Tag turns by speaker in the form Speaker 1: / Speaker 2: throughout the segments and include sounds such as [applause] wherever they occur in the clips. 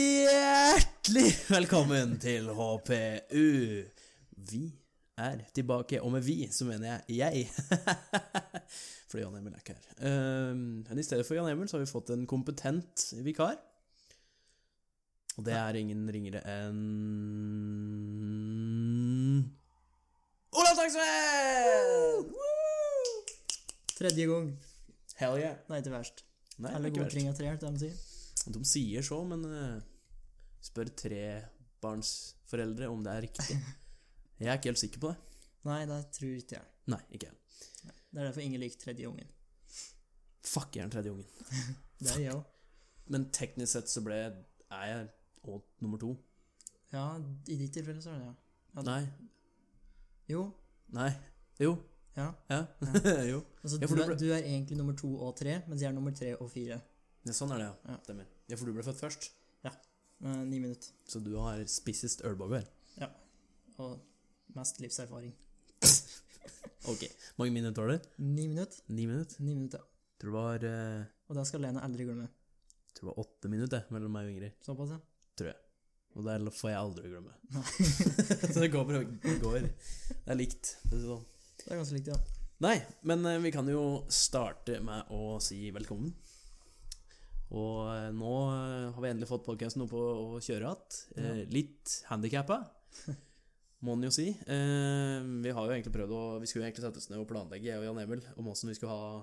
Speaker 1: Hjertelig velkommen til HPU. Vi er tilbake, og med vi så mener jeg jeg. [laughs] Fordi Jan Emil er ikke her. Ehm, Men i stedet for Jan Emil så har vi fått en kompetent vikar. Og det er ingen ringere enn Olav Taksveen!
Speaker 2: Tredje gang.
Speaker 1: Hell yeah.
Speaker 2: Nei, til verst.
Speaker 1: Nei, det er
Speaker 2: Eller
Speaker 1: ikke
Speaker 2: god
Speaker 1: verst.
Speaker 2: kring av tre, er det de sier.
Speaker 1: De sier så, men eh, spør trebarnsforeldre om det er riktig. Jeg er ikke helt sikker på det.
Speaker 2: Nei, det tror ikke jeg.
Speaker 1: Nei, ikke jeg.
Speaker 2: Det er derfor ingen liker tredje ungen.
Speaker 1: Fuck, jeg er den tredje ungen.
Speaker 2: Det er jeg òg.
Speaker 1: Men teknisk sett så ble er jeg òg nummer to.
Speaker 2: Ja, i ditt tilfelle så er det ja. Ja.
Speaker 1: Nei.
Speaker 2: Jo.
Speaker 1: Nei. Jo.
Speaker 2: Ja.
Speaker 1: Ja. [laughs] jo.
Speaker 2: Altså,
Speaker 1: Ja,
Speaker 2: du,
Speaker 1: for du
Speaker 2: er,
Speaker 1: ble-
Speaker 2: du er egentlig nummer to og tre, mens jeg er nummer tre og fire.
Speaker 1: Ja, sånn er det, ja.
Speaker 2: Ja.
Speaker 1: Stemmer. Ja, for du ble født først.
Speaker 2: Med Eh, ni minutter.
Speaker 1: Så du har spissest ølbobber.
Speaker 2: Og mest livserfaring.
Speaker 1: Ok. Mange minutter var det?
Speaker 2: Ni minutter.
Speaker 1: Ni minutter?
Speaker 2: Ni minutter, ja.
Speaker 1: Tror det var eh,
Speaker 2: Og det skal Lene aldri glemme.
Speaker 1: tror det var åtte minutter jeg, mellom meg og Ingrid.
Speaker 2: Såpass, ja.
Speaker 1: Og det får jeg aldri glemme.
Speaker 2: Nei.
Speaker 1: [laughs] så det går, det går. Det er likt. for å si det sånn.
Speaker 2: Det er ganske likt, ja.
Speaker 1: Nei, men eh, vi kan jo starte med å si velkommen. Og eh, nå eh, har vi endelig fått podkasten opp og og kjøre igjen. Eh,
Speaker 2: Ja.
Speaker 1: Litt handikappa, må en jo si. Eh, Vi har jo egentlig prøvd å Vi skulle jo egentlig sette oss ned og planlegge, jeg og Jan Emil, om åssen vi skulle ha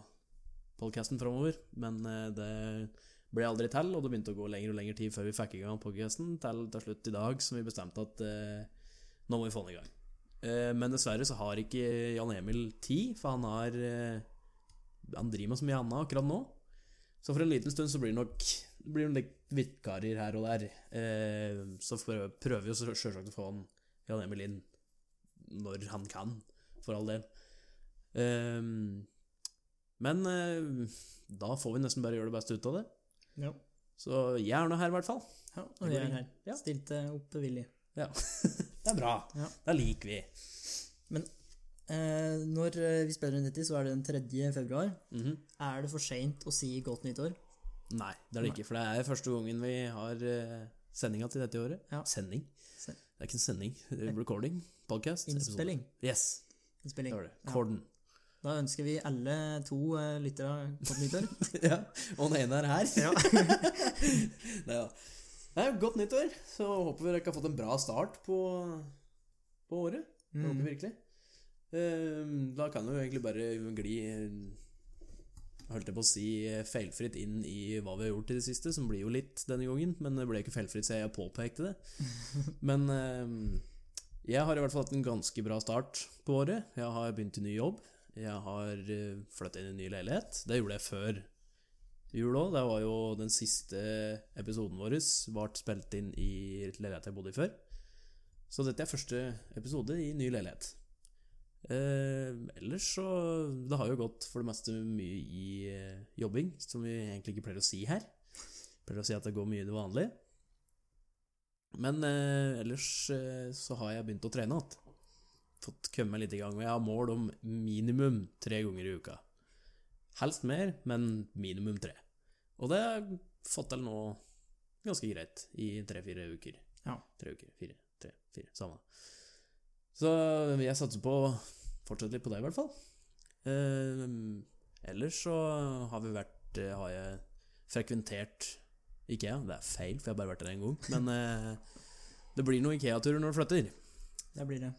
Speaker 1: podkasten framover, men eh, det ble aldri til, og det begynte å gå lengre og lengre tid før vi fikk i gang podkasten, til til slutt i dag som vi bestemte at eh, nå må vi få den i gang. Eh, Men dessverre så har ikke Jan Emil tid, for han har eh, Han driver med så mye annet akkurat nå. Så for en liten stund så blir det nok blir det nok vikarer her og der. Eh, Så prøver prøver vi jo så- selvsagt å få han Jan Emil inn når han kan, for all del. Eh, Men eh, da får vi nesten bare gjøre det beste ut av det.
Speaker 2: Jo.
Speaker 1: Så jeg er nå her, i hvert fall.
Speaker 2: Ja, og vi er her.
Speaker 1: Ja.
Speaker 2: Stilte opp villig.
Speaker 1: [laughs] Det er bra.
Speaker 2: Ja.
Speaker 1: Da liker vi.
Speaker 2: Eh, når eh, vi spiller inn dette, så er det den 3. februar.
Speaker 1: Mhm.
Speaker 2: Er det for seint å si godt nyttår?
Speaker 1: Nei, det er det ikke. For det er første gangen vi har eh, sendinga til dette året.
Speaker 2: Ja.
Speaker 1: Sending?
Speaker 2: Se-
Speaker 1: Det er ikke en sending. det er Recording. Podcast.
Speaker 2: Innspilling.
Speaker 1: episode. Yes, det
Speaker 2: Innspilling.
Speaker 1: var det.
Speaker 2: Ja.
Speaker 1: Corden.
Speaker 2: Da ønsker vi alle to eh, lyttere godt
Speaker 1: [laughs]
Speaker 2: nyttår.
Speaker 1: ja. Og den ene er her.
Speaker 2: Ja.
Speaker 1: [laughs] Nei da. Nei, godt nyttår. Så håper vi dere har fått en bra start på, på året. Det Håper vi
Speaker 2: Mm.
Speaker 1: virkelig. Ehm, da kan vi jo egentlig bare gli eh, Holdt jeg på å si eh, feilfritt inn i hva vi har gjort i det siste, som blir jo litt denne gangen, men det ble ikke feilfritt, så jeg påpekte
Speaker 2: [laughs]
Speaker 1: det. Men ehm, jeg har i hvert fall hatt en ganske bra start på året. Jeg har begynt i ny jobb. Jeg har flytta inn i en ny leilighet. Det gjorde jeg før jul òg. Det var jo den siste episoden vår ble spilt inn i leiligheten jeg bodde i før. Så dette er første episode i ny leilighet. Eh, ellers så Det har jo gått for det meste mye i eh, jobbing, som vi egentlig ikke pleier å si her. Pleier å si at det går mye i det vanlige. Men eh, ellers eh, så har jeg begynt å trene igjen. Fått komme meg litt i gang. Og jeg har mål om minimum tre ganger i uka. Helst mer, men minimum tre. Og det har jeg fått til nå ganske greit i tre-fire uker.
Speaker 2: Ja.
Speaker 1: Tre uker. Fire. Tre. Fire. Samme. Så jeg satser på å fortsette litt på det, i hvert fall. Eh, ellers så har vi vært eh, Har jeg frekventert Ikea. Det er feil, for jeg har bare vært der én gang. Men eh, det blir noen Ikea-turer når du flytter.
Speaker 2: Der blir det.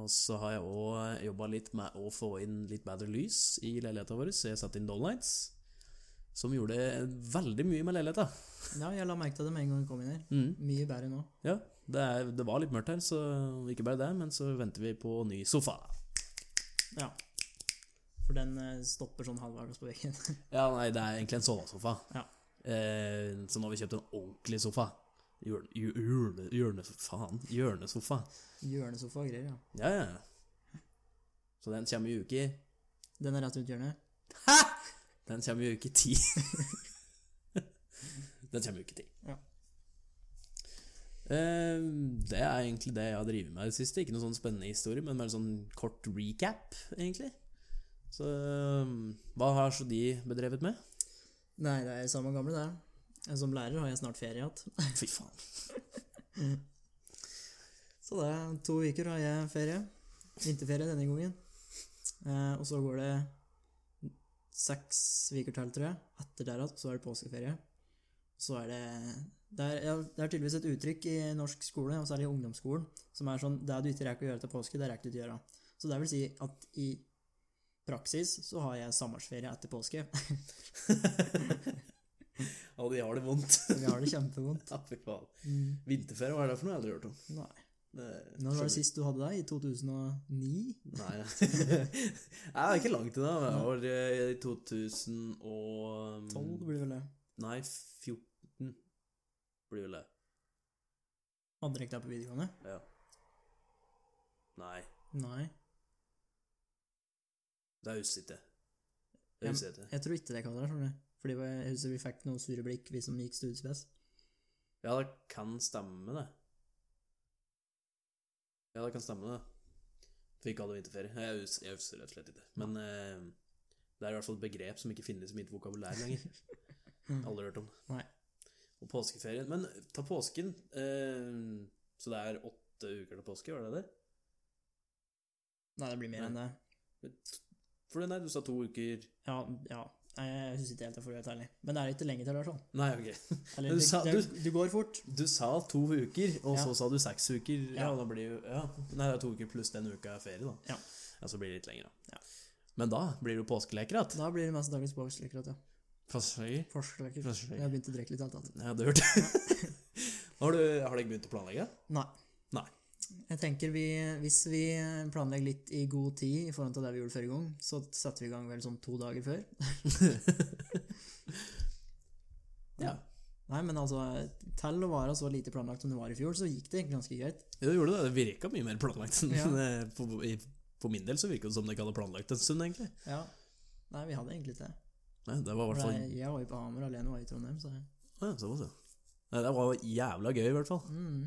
Speaker 1: Og så har jeg òg jobba litt med å få inn litt bedre lys i leiligheta vår, så jeg satte inn Dollnights. Som gjorde veldig mye med leiligheta.
Speaker 2: Ja, jeg la merke til det med en gang vi kom inn her.
Speaker 1: Mm.
Speaker 2: Mye bedre nå.
Speaker 1: Ja, det, er, det var litt mørkt her, så ikke bare det, men så venter vi på ny sofa.
Speaker 2: Ja. For den eh, stopper sånn halvveis på veggen. [laughs]
Speaker 1: Ja, nei, det er egentlig en sovesofa.
Speaker 2: Ja.
Speaker 1: Eh, så nå har vi kjøpt en ordentlig sofa. Hjørne... Hjørne... hjørne faen. Hjørnesofa.
Speaker 2: Hjørnesofa og greier, ja.
Speaker 1: Ja, ja. Så den kommer i uke
Speaker 2: Den er rett rundt hjørnet.
Speaker 1: Den kommer i uke ti. [laughs] den kommer i uke ti.
Speaker 2: Ja.
Speaker 1: Eh, det er egentlig det jeg har drevet med i det siste. Ikke noen sånn spennende historie, men bare en sånn kort recap, egentlig. Så eh, hva har så de bedrevet med?
Speaker 2: [laughs] Nei, det er samme gamle, det. Eh, Som lærer har jeg snart ferie igjen.
Speaker 1: Fy faen.
Speaker 2: Så det er to uker har jeg ferie. Vinterferie denne gangen. Eh, og så går det seks uker til, tror jeg. Etter der igjen, så er det påskeferie. Så er det det er, ja, det er tydeligvis et uttrykk i norsk skole, og særlig i ungdomsskolen, som er sånn Det du ikke rekker å gjøre til påske, det rekker du ikke å gjøre. Så det vil si at i praksis så har jeg sommerferie etter påske. [laughs]
Speaker 1: Ja, de har det vondt. [laughs]
Speaker 2: Vi har det kjempevondt.
Speaker 1: Ja, fy faen.
Speaker 2: Mm.
Speaker 1: Vinterferie, hva er det for noe? Jeg har aldri hørt om.
Speaker 2: Nei.
Speaker 1: Det-
Speaker 2: Når var det
Speaker 1: skjønner-
Speaker 2: sist du hadde deg? I 2009?
Speaker 1: [laughs] Nei, [laughs] Nei, det er ikke langt unna. Det var eh, i 2000 og ehm,
Speaker 2: 12 blir det vel det.
Speaker 1: Nei, 14 blir vel det.
Speaker 2: Hadde dere ikke deg på videregående?
Speaker 1: Ja. Nei,
Speaker 2: Nei.
Speaker 1: det er usitte.
Speaker 2: Ja,
Speaker 1: Det er usitte.
Speaker 2: Jeg tror ikke dere hadde det, skjønner du. Fordi vi- jeg husker vi fikk noen sure blikk, vi som gikk studiespes.
Speaker 1: Ja, det kan stemme, det. Ja, det kan stemme, det. For ikke hadde vinterferie. Jeg hus- jeg husker rett og slett ikke. Men eh, det er i hvert fall et begrep som ikke finnes i mitt vokabulær lenger. Aldri hørt om.
Speaker 2: Nei.
Speaker 1: Og påskeferien Men ta påsken. eh, så det er åtte uker til påske, var det det?
Speaker 2: Nei, det blir mer enn det.
Speaker 1: For nei, du sa to uker
Speaker 2: Ja, ja. Nei, Jeg husker ikke helt, jeg får være helt ærlig. Men det er ikke lenge til, i hvert fall.
Speaker 1: Nei, ok.
Speaker 2: Eller,
Speaker 1: Men du
Speaker 2: det,
Speaker 1: sa-
Speaker 2: det, du går fort.
Speaker 1: Du sa to uker, og
Speaker 2: Ja.
Speaker 1: så sa du seks uker. Ja,
Speaker 2: Ja.
Speaker 1: da blir jo ja. Nei, det er to uker pluss den uka er ferie, da.
Speaker 2: Ja.
Speaker 1: så blir det litt lenger, da.
Speaker 2: Ja.
Speaker 1: Men da blir det jo påskeleker igjen.
Speaker 2: Da blir det mest dagens påskeleker, at ja.
Speaker 1: Påskeleker?
Speaker 2: Påskeleker. Jeg
Speaker 1: Påskeleker.
Speaker 2: har begynt å drikke litt alt annet.
Speaker 1: Ja, det hørte jeg. [laughs] Har du har dere begynt å planlegge?
Speaker 2: Nei.
Speaker 1: Nei.
Speaker 2: Jeg tenker vi, Hvis vi planlegger litt i god tid i forhold til det vi gjorde forrige gang, så setter vi i gang vel sånn to dager [laughs] før.
Speaker 1: ja.
Speaker 2: Nei, men altså, til å være så lite planlagt som det var i fjor, så gikk det ganske greit.
Speaker 1: Ja, det gjorde det. Det virka mye mer planlagt. enn
Speaker 2: Ja.
Speaker 1: [laughs] det- på, i, på min del så virka det som dere ikke hadde planlagt en stund, egentlig.
Speaker 2: Ja. Nei, vi hadde egentlig ikke det.
Speaker 1: Nei, det var i hvert
Speaker 2: For
Speaker 1: fall
Speaker 2: jeg, jeg var jo på Hamar, og Lene var i Trondheim, så jeg
Speaker 1: ja, såpass, ja. Nei, Det var jævla gøy, i hvert fall.
Speaker 2: mm.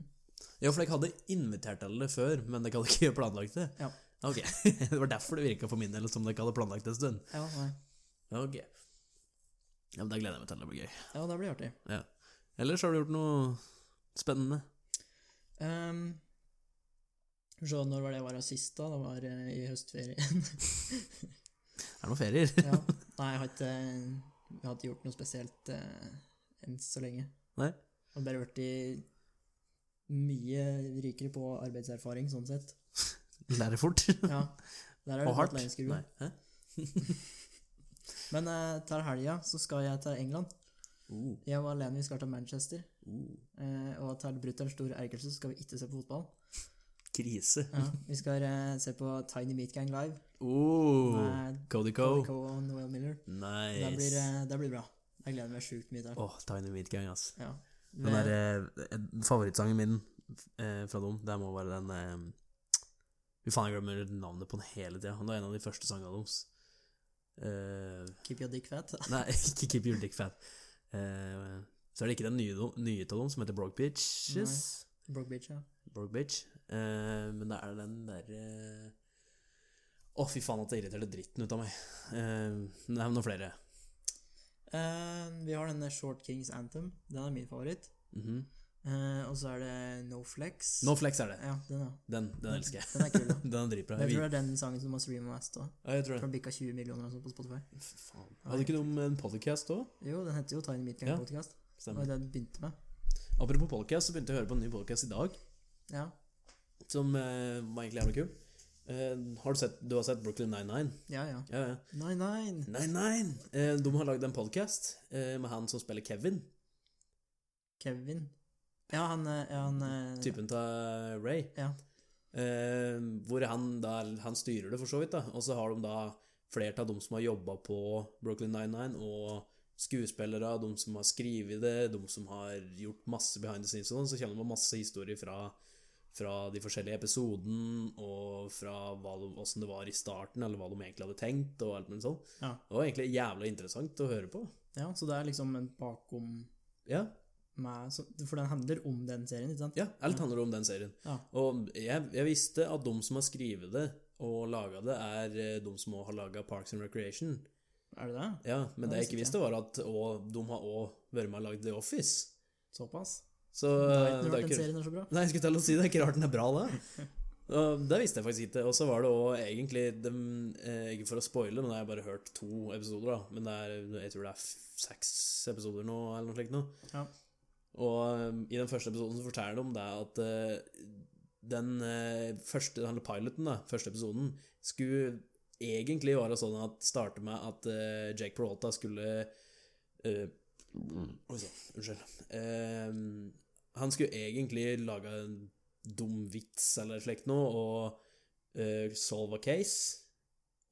Speaker 1: Ja, for dere hadde invitert til det før, men dere hadde ikke planlagt det?
Speaker 2: Ja.
Speaker 1: Ok, [laughs] Det var derfor det virka for min del som dere hadde planlagt en stund?
Speaker 2: Ja, nei.
Speaker 1: Ok. Ja, men Da gleder jeg meg til det blir gøy.
Speaker 2: Ja, det blir artig.
Speaker 1: Ja. Ellers har du gjort noe spennende?
Speaker 2: Ehm, Skal vi se, når var det jeg var her sist, da? Det var eh, i høstferien.
Speaker 1: [laughs] Er det noen ferier? [laughs]
Speaker 2: ja. Nei, jeg har ikke Jeg har ikke gjort noe spesielt eh, enn så lenge.
Speaker 1: Nei.
Speaker 2: Jeg har bare vært i mye rikere på arbeidserfaring, sånn sett.
Speaker 1: Lære fort?
Speaker 2: [laughs] Ja. Der
Speaker 1: [laughs]
Speaker 2: er
Speaker 1: Og
Speaker 2: det
Speaker 1: hardt?
Speaker 2: flatleinskrue.
Speaker 1: Nei. Hæ?
Speaker 2: Men eh, til helga så skal jeg til England.
Speaker 1: Uh,
Speaker 2: Jeg og Lene vi skal til Manchester.
Speaker 1: uh.
Speaker 2: Eh, og til brutter'n stor ergrelse så skal vi ikke se på fotball.
Speaker 1: Krise.
Speaker 2: Ja, vi skal eh, se på Tiny Meat Gang live.
Speaker 1: Uh.
Speaker 2: Med
Speaker 1: Cody Co.
Speaker 2: Cody Coe og Noel Miller. Det, blir,
Speaker 1: Nice.
Speaker 2: eh, det blir bra. Jeg gleder meg sjukt mye til
Speaker 1: Åh, Tiny Meat Gang, ass.
Speaker 2: ja.
Speaker 1: Den der, eh, eh, favorittsangen min eh, fra dem, det må være den eh, Fy faen, jeg glemmer navnet på den hele tida. Det er en av de første sangene deres. Eh,
Speaker 2: Keep your dick fat. [laughs]
Speaker 1: [laughs] nei, ikke Keep Your Dick Fat. Eh, så er det ikke den nye, do- nye av dem som heter Broke Bitches.
Speaker 2: Broke bitch, ja.
Speaker 1: Broke Bitch. Eh, men det er den derre eh... Å, fy faen, at det irriterte dritten ut av meg. Eh, det er noen flere.
Speaker 2: Eh, vi har denne Short Kings Anthem. Den er min favoritt.
Speaker 1: Mhm.
Speaker 2: Eh, og så er det No Flex.
Speaker 1: No Flex er det.
Speaker 2: Ja, den, ja.
Speaker 1: Den, den elsker jeg. [laughs]
Speaker 2: Den er kul. da.
Speaker 1: Den er dritbra.
Speaker 2: Jeg
Speaker 1: Vi-
Speaker 2: tror det er den sangen som har streama mest òg.
Speaker 1: Ja, jeg tror det.
Speaker 2: Den bikka 20 millioner og sånt på Spotify.
Speaker 1: Fy faen. Hadde ikke noe med en podcast òg?
Speaker 2: Jo, den heter jo Tiny Meat
Speaker 1: Ja.
Speaker 2: Gang Podcast. Det var
Speaker 1: Stemmer.
Speaker 2: det den begynte med.
Speaker 1: Apropos podcast, så begynte jeg å høre på en ny podcast i dag,
Speaker 2: Ja.
Speaker 1: som eh, var egentlig jævla kul. Eh, har du, sett, du har sett Brooklyn 99?
Speaker 2: Ja, ja.
Speaker 1: Ja, ja.
Speaker 2: Nei, nei.
Speaker 1: Nei, nei! Eh, de har lagd en podcast eh, med han som spiller Kevin,
Speaker 2: Kevin. Ja, han, eh, ja, han eh,
Speaker 1: typen av Ray.
Speaker 2: Ja.
Speaker 1: Eh, hvor han, da, han styrer det, for så vidt. da. Og så har de da flere av de som har jobba på Brooklyn 99, og skuespillere, de som har skrevet det, de som har gjort masse behind the scenes, og sånn, så kommer man masse historier fra fra de forskjellige episoden, og fra hva de, hvordan det var i starten, eller hva de egentlig hadde tenkt, og alt mulig sånn.
Speaker 2: Ja.
Speaker 1: Det var egentlig jævla interessant å høre på.
Speaker 2: Ja, så det er liksom en bakom
Speaker 1: Ja,
Speaker 2: meg så, For den handler om den serien, ikke sant?
Speaker 1: ja alt handler om den serien.
Speaker 2: Ja.
Speaker 1: Og jeg, jeg visste at de som har skrevet det og laga det, er eh, de som også har laga Parks and Recreation.
Speaker 2: Er det det?
Speaker 1: Ja, men det
Speaker 2: Nei,
Speaker 1: jeg ikke visste, var at og, de har òg vært med og lagd The Office.
Speaker 2: Såpass?
Speaker 1: Så
Speaker 2: Jeg
Speaker 1: eh,
Speaker 2: har
Speaker 1: det
Speaker 2: ikke hørt
Speaker 1: er
Speaker 2: den
Speaker 1: ikke
Speaker 2: serien er så bra.
Speaker 1: Nei, jeg skulle til å si det. Det er Ikke rart den er bra, det. [laughs] Og det visste jeg faktisk ikke. Og så var det òg egentlig dem, eh, Ikke for å spoile, men jeg har bare hørt to episoder, da. Men det er, jeg tror det er f- seks episoder nå, eller noe slikt nå.
Speaker 2: Ja.
Speaker 1: Og eh, i den første episoden så forteller de om det at eh, den eh, første den piloten, da, første episoden, skulle egentlig være sånn at starte med at eh, Jake Peralta skulle eh, Oi sann, unnskyld. Eh, han skulle egentlig lage en dum vits eller slikt noe, og eh, solve a case.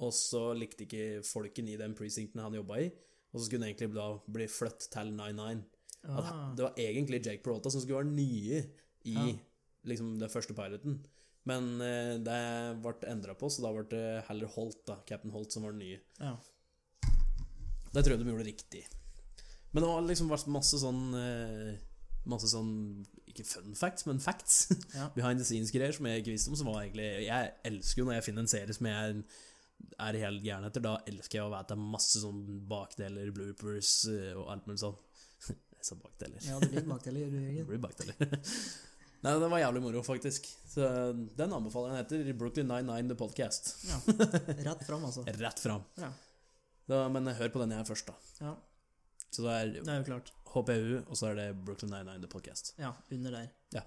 Speaker 1: Og så likte ikke folken i den precincten han jobba i, og så skulle han egentlig da bli flytt til 99. At
Speaker 2: Ah,
Speaker 1: det var egentlig Jake Peralta som skulle være nye i
Speaker 2: Ja.
Speaker 1: liksom, den første piloten. Men eh, det ble endra på, så da ble det heller Holt, da. Captain Holt, som var den nye.
Speaker 2: ja.
Speaker 1: Det tror jeg de gjorde riktig. Men det har liksom vært masse sånn eh, Masse sånn Ikke fun facts, men facts. [laughs]
Speaker 2: Ja.
Speaker 1: Behind the scenes-greier som jeg ikke visste om. Som var egentlig Jeg elsker jo når jeg finner en serie som jeg er helt gæren etter. Da elsker jeg å vite at det er masse sånn bakdeler, bloopers eh, og alt mulig sånn. [laughs] Jeg sa bakdeler.
Speaker 2: ja, det blir bakdeler, Jørgen.
Speaker 1: Det blir bakdeler. [laughs] Nei, det var jævlig moro, faktisk. Så den anbefaler jeg. Den heter Brooklyn 99 The Podcast.
Speaker 2: Ja. Rett fram, altså.
Speaker 1: Rett fram.
Speaker 2: Ja.
Speaker 1: Da, men hør på den jeg først, da.
Speaker 2: Ja,
Speaker 1: Så det er
Speaker 2: det er jo klart.
Speaker 1: HPU, og så er det Brooklyn Nine-Nine The Podcast.
Speaker 2: Ja, under der.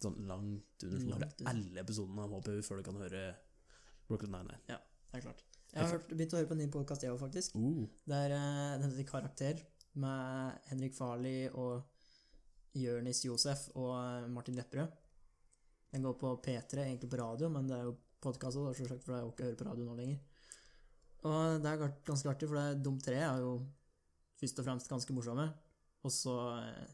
Speaker 1: Sånn langt under sånn
Speaker 2: Langt
Speaker 1: hører alle episodene av HPU før du kan høre Brooklyn Nine-Nine.
Speaker 2: Det er klart. Jeg har hørt, begynt å høre på en ny podkast, jeg òg, faktisk.
Speaker 1: Uh.
Speaker 2: Det er eh, den heter Karakter, med Henrik Farley og Jørnis Josef og eh, Martin Lepperød. Den går på P3, egentlig på radio, men det er jo podkast òg, for det er jo ikke å høre på radio nå lenger. Og det er gart- ganske artig, for det er de tre er jo først og fremst ganske morsomme. Og så eh,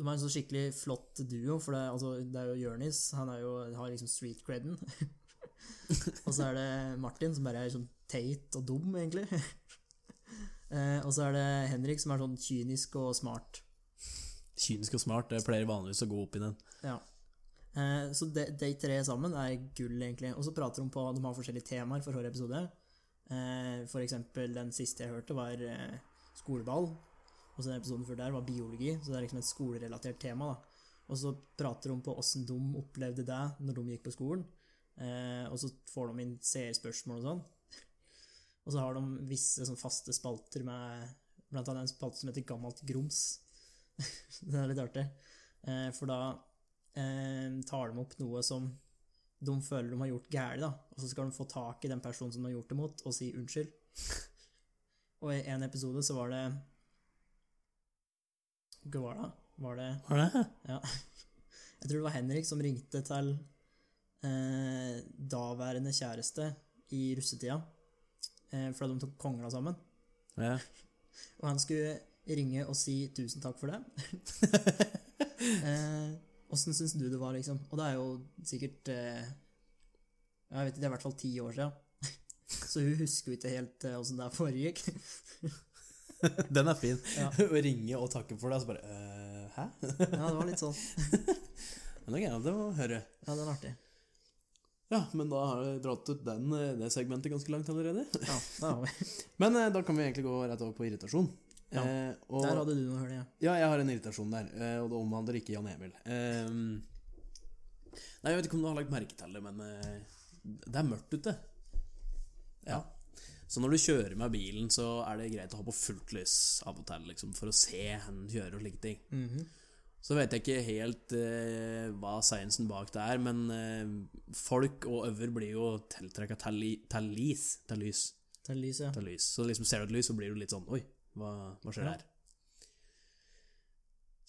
Speaker 2: De er en sånn skikkelig flott duo, for det, er- altså, det er jo Jørnis, han er jo, har liksom street creden. [laughs] og så er det Martin, som bare er sånn teit og dum, egentlig. Eh, og så er det Henrik som er sånn kynisk og smart.
Speaker 1: Kynisk og smart, det pleier vanligvis å gå opp i den.
Speaker 2: Eh, så de, de tre sammen er gull, egentlig. Og så prater de på De har forskjellige temaer for hver episode. Eh, for eksempel den siste jeg hørte, var eh, skoleball. Og så den episoden før der var biologi, så det er liksom et skolerelatert tema. da. Og så prater de på åssen de opplevde det når de gikk på skolen. Eh, og så får de inn seerspørsmål og sånn. Og så har de visse sånn faste spalter med Blant annet en spalte som heter Gammalt grums. [laughs] det er litt artig. Eh, for da eh, tar de opp noe som de føler de har gjort gærent, da. Og så skal de få tak i den personen som de har gjort det mot, og si unnskyld. og i en episode så var det Hva var det? Var det
Speaker 1: Har det?
Speaker 2: Jeg tror det var Henrik som ringte til eh, daværende kjæreste i russetida, eh, fordi de tok kongla sammen.
Speaker 1: Ja.
Speaker 2: Og han skulle ringe og si tusen takk
Speaker 1: [laughs]
Speaker 2: for det. eh, hvordan syns du det var, liksom? Og det er jo sikkert eh, Jeg vet ikke, det er i hvert fall ti år siden. [laughs] Så hun husker jo ikke helt eh, åssen det foregikk.
Speaker 1: [laughs] Den er fin.
Speaker 2: Ja.
Speaker 1: [laughs] Å ringe og takke for det, og så bare øh, Hæ?
Speaker 2: Ja, det var litt sånn.
Speaker 1: [laughs] Men det er greit, det må vi høre.
Speaker 2: Ja, den er artig.
Speaker 1: Ja, men da har vi dratt ut den, eh, det segmentet ganske langt allerede. [laughs]
Speaker 2: Ja, der, har vi.
Speaker 1: Men eh, da kan vi egentlig gå rett over på irritasjon.
Speaker 2: Ja.
Speaker 1: Eh, og,
Speaker 2: der hadde du noe, hører jeg.
Speaker 1: Ja, jeg har en irritasjon der, eh, og det omhandler ikke Jan Emil. Ehm, nei, jeg vet ikke om du har lagt merke til det, men eh, det er mørkt ute. Ja. Så når du kjører med bilen, så er det greit å ha på fullt lys av og til, liksom, for å se hen du kjører og slike ting. Så vet jeg ikke helt eh, hva sciencen bak det er, men eh, folk og øver blir jo tiltrekka til li- til lys. Til lys
Speaker 2: Til lyset, ja.
Speaker 1: av lys. Så liksom ser du et lys, så blir du litt sånn Oi, hva, hva skjer
Speaker 2: Ja.
Speaker 1: her?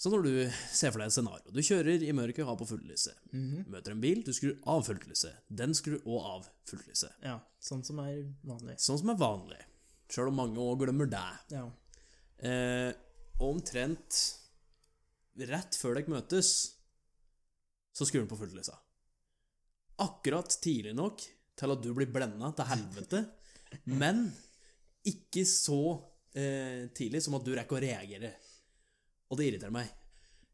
Speaker 1: Så når du ser for deg et scenario Du kjører i mørket, har på fulllyset.
Speaker 2: Mhm.
Speaker 1: Møter en bil, du skrur av fulllyset. Den skrur òg av fulllyset.
Speaker 2: ja. Sånn som er vanlig.
Speaker 1: Sånn som er vanlig. Sjøl om mange òg glemmer det.
Speaker 2: Ja.
Speaker 1: Eh, og omtrent rett før dere møtes, så skrur den på fulllyset. Akkurat tidlig nok til at du blir blenda til helvete, men ikke så eh, tidlig som at du rekker å reagere. Og det irriterer meg.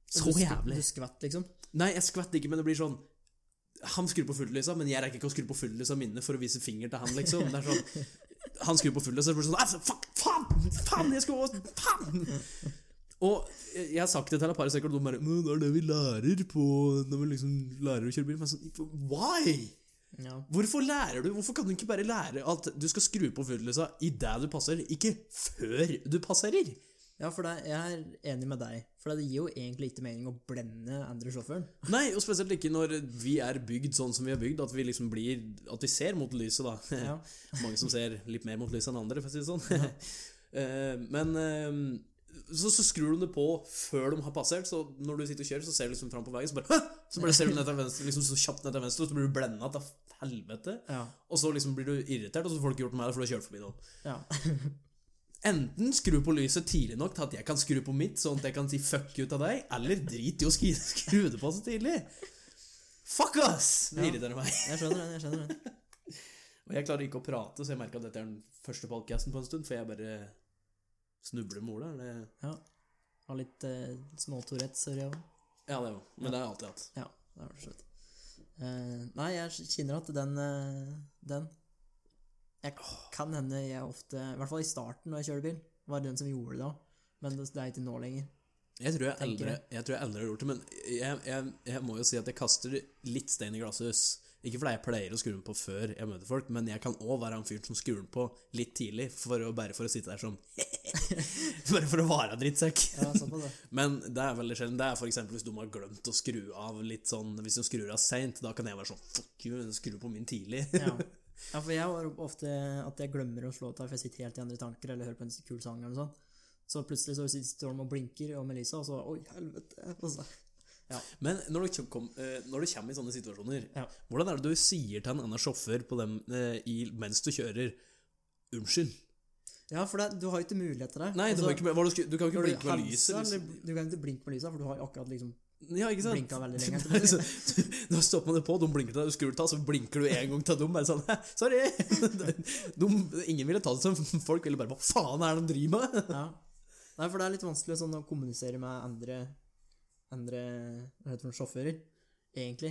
Speaker 1: Så
Speaker 2: Du sk-
Speaker 1: jævlig.
Speaker 2: Du skvett, liksom.
Speaker 1: Nei, jeg skvett ikke, men det blir sånn Han skrur på fulllysa, men jeg liksom, rekker ikke å skru på fulllysa mine for å vise finger til han, liksom. Det er sånn Han skrur på fulllysa, så blir det sånn «Æ, Fuck! Faen! Faen, jeg skulle også Faen! Og jeg jeg har sagt det til et par stykker, og de bare Men det er det vi lærer på når vi liksom lærer å kjøre bil. Men sånn, why?
Speaker 2: Ja.
Speaker 1: Hvorfor lærer du? Hvorfor kan du ikke bare lære at du skal skru på fuglelysa idet du passerer, ikke før du passerer?
Speaker 2: ja, for det, jeg er enig med deg. For det gir jo egentlig ikke mening å blende andre sjåføren.
Speaker 1: Nei, og spesielt ikke når vi er bygd sånn som vi er bygd, at vi liksom blir At vi ser mot lyset, da.
Speaker 2: Ja.
Speaker 1: [laughs] Mange som ser litt mer mot lyset enn andre, for å si det sånn. [laughs] Eh, Men eh, så, så skrur de det på før de har passert, så når du sitter og kjører, så ser du liksom fram på veien, så bare Hå! Så bare ser du ned til venstre, liksom så kjapt ned til venstre, og så blir du blenda til helvete.
Speaker 2: Ja.
Speaker 1: Og så liksom blir du irritert, og så får du ikke gjort noe med det, for du har kjørt forbi noen.
Speaker 2: ja.
Speaker 1: Enten skru på lyset tidlig nok til at jeg kan skru på mitt, sånn at jeg kan si fuck you til deg, eller drit i å skri- [laughs] skru det på så tidlig. Fuck ass! Det
Speaker 2: Ja.
Speaker 1: irriterer meg.
Speaker 2: Jeg skjønner den, jeg skjønner den.
Speaker 1: Og jeg klarer ikke å prate, så jeg merker at dette er den første podcasten på en stund, for jeg bare snubler med ordet. Det...
Speaker 2: Ja. Har litt eh, småtourette, ser jeg òg.
Speaker 1: Ja, det er jo. Men det har jeg alltid hatt.
Speaker 2: Ja, det har du slutt. Eh, nei, jeg kjenner at den eh, Den Jeg kan hende jeg ofte I hvert fall i starten når jeg kjører bil, var det den som gjorde det da. Men det, det er ikke nå lenger.
Speaker 1: Jeg tror jeg,
Speaker 2: Tenker
Speaker 1: aldri, jeg tror jeg aldri har gjort det, men jeg, jeg, jeg må jo si at jeg kaster litt stein i glasshus. Ikke fordi jeg pleier å skru den på før jeg møter folk, men jeg kan òg være han fyren som skrur den på litt tidlig, for å, bare for å sitte der som [laughs] Bare for å være drittsekk.
Speaker 2: Ja, såpass, det.
Speaker 1: Men det er veldig sjelden. Det er for eksempel hvis de har glemt å skru av litt sånn Hvis de skrur av seint, da kan jeg være sånn Fuck you, skru på min tidlig.
Speaker 2: [laughs] Ja. ja, for jeg har ofte at jeg glemmer å slå av, for jeg sitter helt i andre tanker eller hører på en kul sang eller noe sånt. Så plutselig så står de og blinker, og Melissa, og så Oi, helvete. Og så,
Speaker 1: [laughs] Men når du, kom, eh, når du kommer i sånne situasjoner,
Speaker 2: Ja.
Speaker 1: hvordan er det du sier til en annen sjåfør på dem, eh, i, mens du kjører 'unnskyld'?
Speaker 2: ja, for det, du har jo ikke mulighet til det.
Speaker 1: Nei,
Speaker 2: Og
Speaker 1: du,
Speaker 2: så-
Speaker 1: har ikke, hva, du, skal, Altså, du kan ikke
Speaker 2: når
Speaker 1: blinke
Speaker 2: du
Speaker 1: med lyset.
Speaker 2: hilser,
Speaker 1: Liksom.
Speaker 2: eller- Du kan ikke blinke med lyset, for du har jo akkurat liksom
Speaker 1: Ja, ikke sant?
Speaker 2: blinket
Speaker 1: [laughs]
Speaker 2: veldig lenge
Speaker 1: Nei, så, [laughs] du- da stopper man det på, de blinker til deg, du skrur til, så blinker du en gang til dem. Bare sånn [laughs] «Hæ, Sorry! De, ingen ville ta det som folk ville bare Hva faen er det de driver med?
Speaker 2: Ja. Nei, for det er litt vanskelig sånn å kommunisere med andre andre hva heter det, sjåfører, egentlig.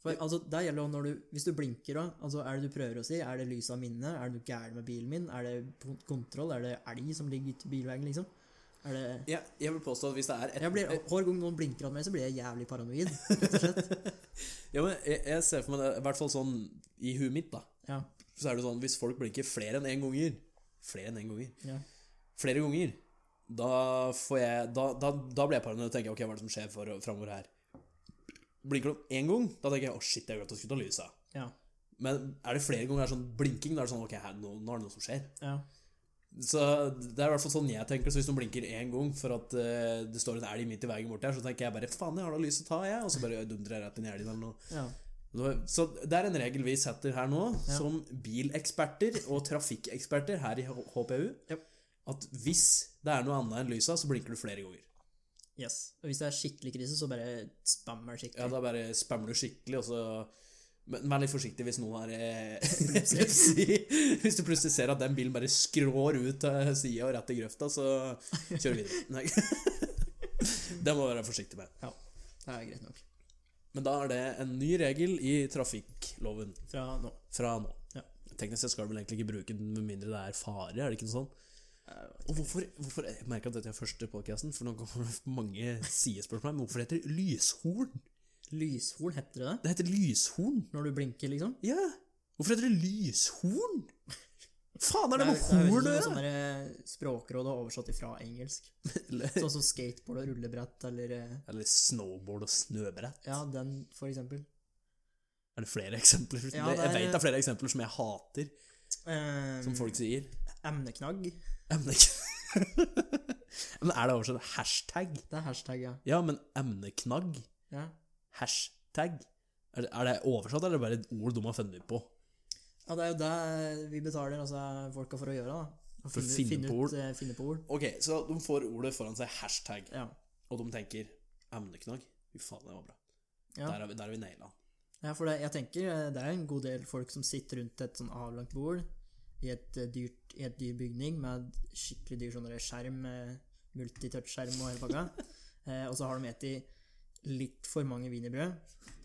Speaker 2: For
Speaker 1: Ja.
Speaker 2: altså, det gjelder jo når du Hvis du blinker, da, altså, er det du prøver å si? Er det lys av minne? Er det noe gærent med bilen min? Er det p- kontroll? Er det elg som ligger ute i bilveien, liksom? Er det
Speaker 1: Ja, jeg vil påstå at hvis det er et
Speaker 2: jeg blir, Hver gang noen blinker av meg, så blir jeg jævlig paranoid. rett og slett.
Speaker 1: ja, men jeg, jeg ser for meg det, i hvert fall sånn i huet mitt, da.
Speaker 2: [laughs] Ja,
Speaker 1: Så er det sånn, hvis folk blinker flere enn én en ganger Flere enn én en ganger
Speaker 2: ja,
Speaker 1: flere ganger, da får jeg Da, da, da blir jeg paranoid og tenker ok, hva er det som skjer for, framover her? Blinker de én gang, da tenker jeg å shit, jeg glemte å skru av lyset.
Speaker 2: ja,
Speaker 1: Men er det flere ganger sånn blinking, da er det sånn ok, her, nå, nå er det noe som skjer.
Speaker 2: ja.
Speaker 1: Så det er i hvert fall sånn jeg tenker. Så hvis de blinker én gang for at eh, det står en elg midt i veien borti her, så tenker jeg bare faen, jeg har da lyset å ta, jeg, og så bare dundrer jeg rett inn i elgen eller noe.
Speaker 2: ja.
Speaker 1: Så- Så det er en regel vi setter her nå,
Speaker 2: Ja.
Speaker 1: som bileksperter og trafikkeksperter her i H- HPU,
Speaker 2: Ja.
Speaker 1: at hvis det er noe annet enn lysa, så blinker du flere ganger.
Speaker 2: Yes. Og hvis det er skikkelig krise, så bare spammer
Speaker 1: Ja,
Speaker 2: skikkelig.
Speaker 1: da bare spammer du skikkelig, og så men vær litt forsiktig hvis noen har eh,
Speaker 2: Epilepsi.
Speaker 1: epilepsi. [laughs] Hvis du plutselig ser at den bilen bare skrår ut av sida og rett i grøfta, så kjør videre. Nei. [laughs] Det må du være forsiktig med.
Speaker 2: Det er greit nok.
Speaker 1: Men da er det en ny regel i trafikkloven.
Speaker 2: Fra nå.
Speaker 1: fra nå.
Speaker 2: Ja.
Speaker 1: Teknisk sett skal du vel egentlig ikke bruke den med mindre det er fare, er det ikke noe sånn? Og hvorfor, hvorfor Jeg merker at dette er første podcasten, for nå kommer det mange sidespørsmål, men hvorfor heter det lyshorn?
Speaker 2: Lyshorn, heter det det?
Speaker 1: Det heter lyshorn!
Speaker 2: Når du blinker, liksom?
Speaker 1: Ja! Hvorfor heter det lyshorn? Faen, er det med
Speaker 2: er
Speaker 1: horn å
Speaker 2: veldig sånn
Speaker 1: gjøre?
Speaker 2: sånne eh, språkråd og oversatt ifra engelsk.
Speaker 1: [laughs] Eller-
Speaker 2: Sånn som skateboard og rullebrett, eller eh,
Speaker 1: Eller snowboard og snøbrett.
Speaker 2: Ja, den, for eksempel.
Speaker 1: Er det flere eksempler?
Speaker 2: Ja, det er-
Speaker 1: Jeg vet det er flere eksempler som jeg hater,
Speaker 2: Eh,
Speaker 1: som folk sier.
Speaker 2: Emneknagg.
Speaker 1: Emneknagg. [laughs] Men er det oversatt hashtag?
Speaker 2: Det er hashtag, ja.
Speaker 1: Ja, men emneknagg?
Speaker 2: ja.
Speaker 1: Hashtag? Er det, er det oversatt, eller er det bare et ord de har funnet på?
Speaker 2: Ja, det er jo det vi betaler altså, folka for å gjøre, da. Å
Speaker 1: For å finne på ord.
Speaker 2: Ut, eh, finne på ord.
Speaker 1: Ok, så de får ordet foran seg hashtag,
Speaker 2: Ja.
Speaker 1: og de tenker emneknagg. Fy faen, det var bra.
Speaker 2: Ja.
Speaker 1: Der har vi, der har vi naila. den.
Speaker 2: ja, for det, jeg tenker eh, det er en god del folk som sitter rundt et sånn avlangt bord i et, eh, dyrt, i et dyr bygning med skikkelig dyr sånn der skjerm, eh,
Speaker 1: [laughs]
Speaker 2: multitouch-skjerm og hele pakka. eh, og så har de spist litt for mange wienerbrød.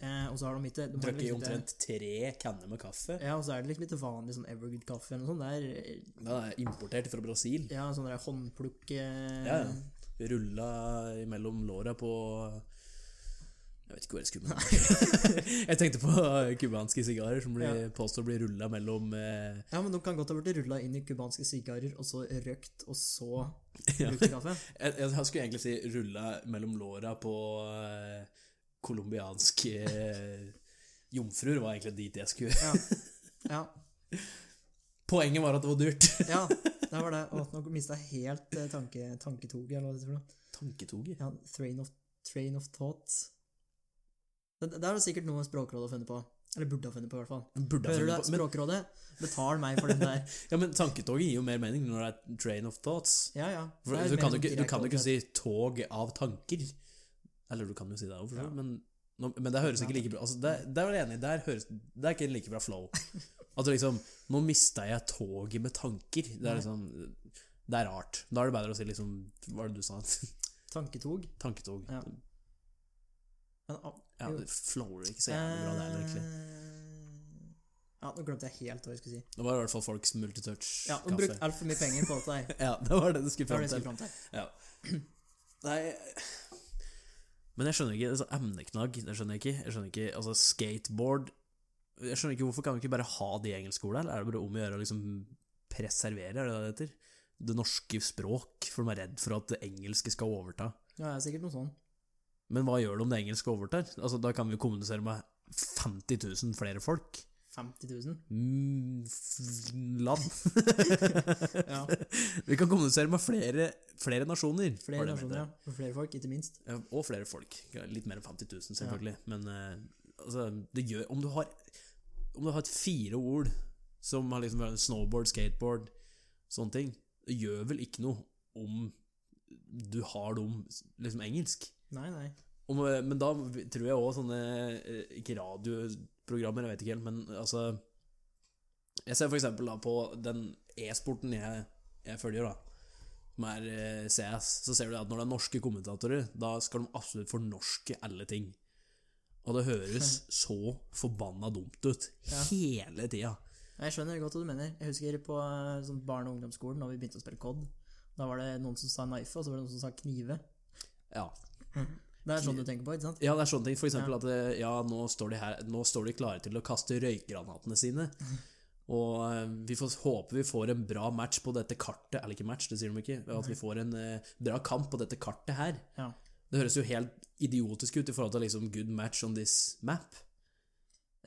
Speaker 2: Eh, og så har de ikke de har
Speaker 1: Drukket
Speaker 2: liksom ikke-
Speaker 1: omtrent tre kanner med kaffe.
Speaker 2: Ja, og så er det liksom ikke vanlig sånn Evergood-kaffe eller noe sånt. Det er eh,
Speaker 1: Den er importert fra Brasil.
Speaker 2: ja, sånn der håndplukk eh,
Speaker 1: Ja, ja. Rulla mellom låra på Jeg vet ikke hvor jeg skulle med [laughs] Jeg tenkte på cubanske sigarer som blir, påstår å bli rulla mellom eh,
Speaker 2: Ja, men de kan godt ha blitt rulla inn i cubanske sigarer, og så røkt, og så
Speaker 1: [laughs] ja.
Speaker 2: brukt til kaffe.
Speaker 1: jeg, jeg skulle egentlig si rulla mellom låra på eh, colombianske eh, jomfruer, var egentlig dit jeg skulle. [laughs]
Speaker 2: Ja. ja.
Speaker 1: Poenget var at det var dyrt. [laughs]
Speaker 2: ja der var det. Og nå mista jeg helt eh, tanke, tanketoget, eller hva det heter for noe.
Speaker 1: Tanketoget.
Speaker 2: Ja, train of, train of thought. Det, det er det sikkert noe Språkrådet har funnet på. Eller burde ha funnet på, i hvert fall.
Speaker 1: Burde ha
Speaker 2: Hører du det?
Speaker 1: funnet på men,
Speaker 2: Språkrådet, betal meg for den
Speaker 1: [laughs]
Speaker 2: der.
Speaker 1: ja, men tanketoget gir jo mer mening når det er train of thoughts.
Speaker 2: Ja, ja.
Speaker 1: For,
Speaker 2: Det er
Speaker 1: du,
Speaker 2: mer
Speaker 1: kan jo
Speaker 2: sånn
Speaker 1: ikke, du kan jo
Speaker 2: direkte
Speaker 1: ikke si 'tog av tanker'. Eller du kan jo si det òg,
Speaker 2: Ja.
Speaker 1: men, nå- men det høres ikke like bra altså, det, det er jeg enig i. Der høres- Det er ikke en like bra
Speaker 2: [laughs]
Speaker 1: flow. At du liksom 'Nå mista jeg toget med tanker'. Det
Speaker 2: Nei.
Speaker 1: er liksom Det er rart. Da er det bedre å si liksom Hva var det du sa? [laughs]
Speaker 2: Tanketog.
Speaker 1: Tanketog.
Speaker 2: Ja.
Speaker 1: Ja.
Speaker 2: Men, ah, jo.
Speaker 1: det flower ikke så jævlig bra, det heller, egentlig.
Speaker 2: Eh, Ja, nå glemte jeg helt hva jeg skulle si.
Speaker 1: Det var i hvert fall folks multitouch-kaffe.
Speaker 2: Ja, Hun brukte altfor mye penger på
Speaker 1: [laughs]
Speaker 2: dette. her.
Speaker 1: ja, det var det du skulle
Speaker 2: Det var
Speaker 1: fram
Speaker 2: det jeg
Speaker 1: til.
Speaker 2: skulle fram til. [clears throat]
Speaker 1: Nei
Speaker 2: eh,
Speaker 1: Men jeg skjønner ikke altså, Emneknagg, det skjønner jeg ikke. Jeg skjønner ikke Altså, skateboard Jeg skjønner ikke Hvorfor kan vi ikke bare ha det i engelskskolen? Eller er det bare om å gjøre å liksom preservere, er det det heter? Det norske språk, for de er redd for at det engelske skal overta.
Speaker 2: Ja, det er sikkert noe sånn.
Speaker 1: Men hva gjør det om det engelske overtar? Altså, da kan vi jo kommunisere med 50 000 flere folk.
Speaker 2: 50 000.
Speaker 1: Mm, f- land. [laughs]
Speaker 2: Ja.
Speaker 1: Vi kan kommunisere med flere, flere nasjoner.
Speaker 2: Flere
Speaker 1: var det jeg mente.
Speaker 2: nasjoner, ja. For flere folk, ikke minst.
Speaker 1: Ja, Og flere folk. Litt mer enn 50 000, selvfølgelig. Men eh, altså, det gjør Om du har Om du har et fire ord som har liksom vært snowboard, skateboard, sånne ting, det gjør vel ikke noe om du har dem liksom engelsk.
Speaker 2: Nei, nei.
Speaker 1: Om, eh, men da tror jeg òg sånne eh, Ikke radioprogrammer, jeg vet ikke helt, men altså Jeg ser for eksempel da på den e-sporten jeg, jeg følger, da, som er eh, CS, så ser du at når det er norske kommentatorer, da skal de absolutt fornorske alle ting. Og det høres så forbanna dumt ut
Speaker 2: Ja.
Speaker 1: hele tida.
Speaker 2: Jeg skjønner godt hva du mener. Jeg husker på eh, sånn barne- og ungdomsskolen, da vi begynte å spille COD. Da var det noen som sa knife, og så var det noen som sa knive.
Speaker 1: Ja.
Speaker 2: Det er sånn du tenker på, ikke sant?
Speaker 1: ja, det er sånne ting. For eksempel at eh, ja, nå står de, her, nå står de klare til å kaste røykgranatene sine. Og eh, vi får håpe vi får en bra match på dette kartet Eller ikke match, det sier de ikke. At vi får en eh, bra kamp på dette kartet her.
Speaker 2: Ja.
Speaker 1: Det høres jo helt idiotisk ut i forhold til liksom good match on this map.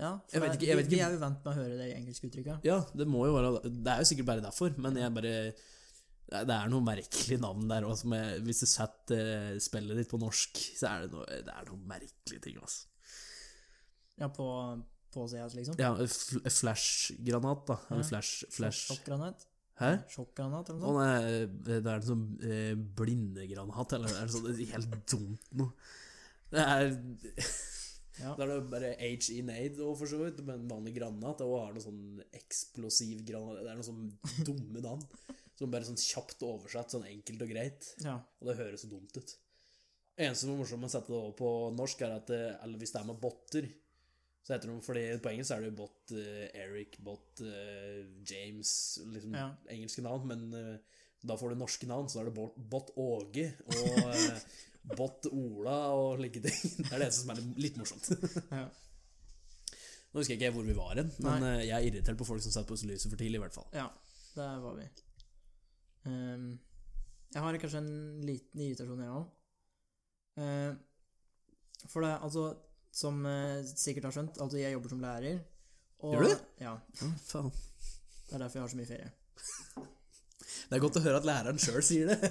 Speaker 2: ja for
Speaker 1: Jeg vet
Speaker 2: det-
Speaker 1: ikke- jeg vet
Speaker 2: vi, vi
Speaker 1: ikke-
Speaker 2: er jo vant med å høre det engelske uttrykket.
Speaker 1: Ja, det må jo være Det er jo sikkert bare derfor, men jeg bare det det er noe merkelig navn der også, som jeg- Hvis du setter eh, spillet ditt på norsk, så er det noe, det er noe merkelige ting, altså.
Speaker 2: Ja, på, på CS, liksom.
Speaker 1: Ja, fl flashgranat, da. Eller flash, flash.
Speaker 2: Sjokkgranat.
Speaker 1: Hæ?
Speaker 2: Sjokkgranat, eller
Speaker 1: Å
Speaker 2: noe sånt.
Speaker 1: nei, det er en sånn eh, blindegranat, eller det er sånn det er helt dumt noe. Det er
Speaker 2: Ja.
Speaker 1: Da er [laughs] det bare H E in aid og for så vidt, men vanlig granat og har noe sånn eksplosiv granat Det er noe sånn dumme navn. Som bare sånn kjapt oversatt, sånn enkelt og greit.
Speaker 2: Ja.
Speaker 1: Og det høres så dumt ut. Det eneste som er morsomt med å sette det over på norsk, er at eh, Eller hvis det er med botter, så heter det Fordi på engelsk er det jo bot eh, Eric, bot eh, James Liksom
Speaker 2: Ja.
Speaker 1: engelske navn, men eh, da får du norske navn, så da er det bot, bot Åge og eh, [laughs] bot Ola og like ting. [laughs] Det er det eneste som er litt morsomt.
Speaker 2: ja.
Speaker 1: Nå husker jeg ikke hvor vi var hen, men eh, jeg er irritert på folk som setter på lyset for tidlig, i hvert fall.
Speaker 2: Ja, der var vi. Ehm, jeg har kanskje en liten irritasjon, jeg òg. for det, altså, som eh, sikkert har skjønt, altså jeg jobber som lærer. og-
Speaker 1: Gjør du det?
Speaker 2: Ja.
Speaker 1: Ja, faen.
Speaker 2: Det er derfor jeg har så mye ferie.
Speaker 1: Det er godt å høre at læreren sjøl sier det.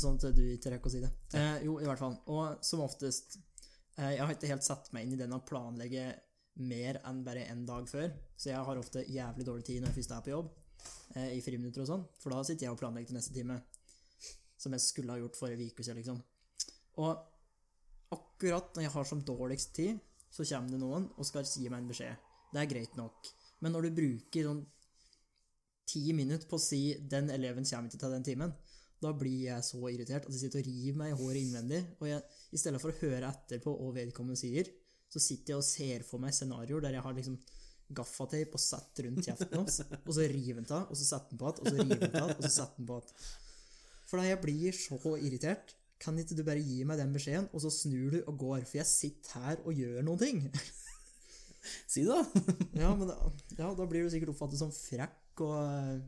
Speaker 2: Sånn at du ikke rekker å si det. Eh, jo, i hvert fall. Og som oftest eh, Jeg har ikke helt satt meg inn i den å planlegge mer enn bare en dag før, så jeg har ofte jævlig dårlig tid når jeg først er på jobb, eh, i friminutter og sånn, for da sitter jeg og planlegger til neste time, som jeg skulle ha gjort forrige uke siden, liksom. Og akkurat når jeg har som dårligst tid, så kommer det noen og skal gi meg en beskjed. Det er greit nok. Men når du bruker sånn ti minutter på å si 'den eleven kommer ikke til den timen', da blir jeg så irritert at jeg sitter og river meg i håret innvendig. Og jeg, i stedet for å høre etter på hva vedkommende sier, så sitter jeg og ser for meg scenarioer der jeg har liksom gaffateip og satt rundt kjeften hans, og så river han av, og så setter han på igjen, og så river han av, og så setter han på igjen. For da jeg blir så irritert. Kan ikke du bare gi meg den beskjeden, og så snur du og går, for jeg sitter her og gjør noen ting? [laughs]
Speaker 1: Si det, da!
Speaker 2: Ja, men da, ja, da blir du sikkert oppfattet som frekk og eh,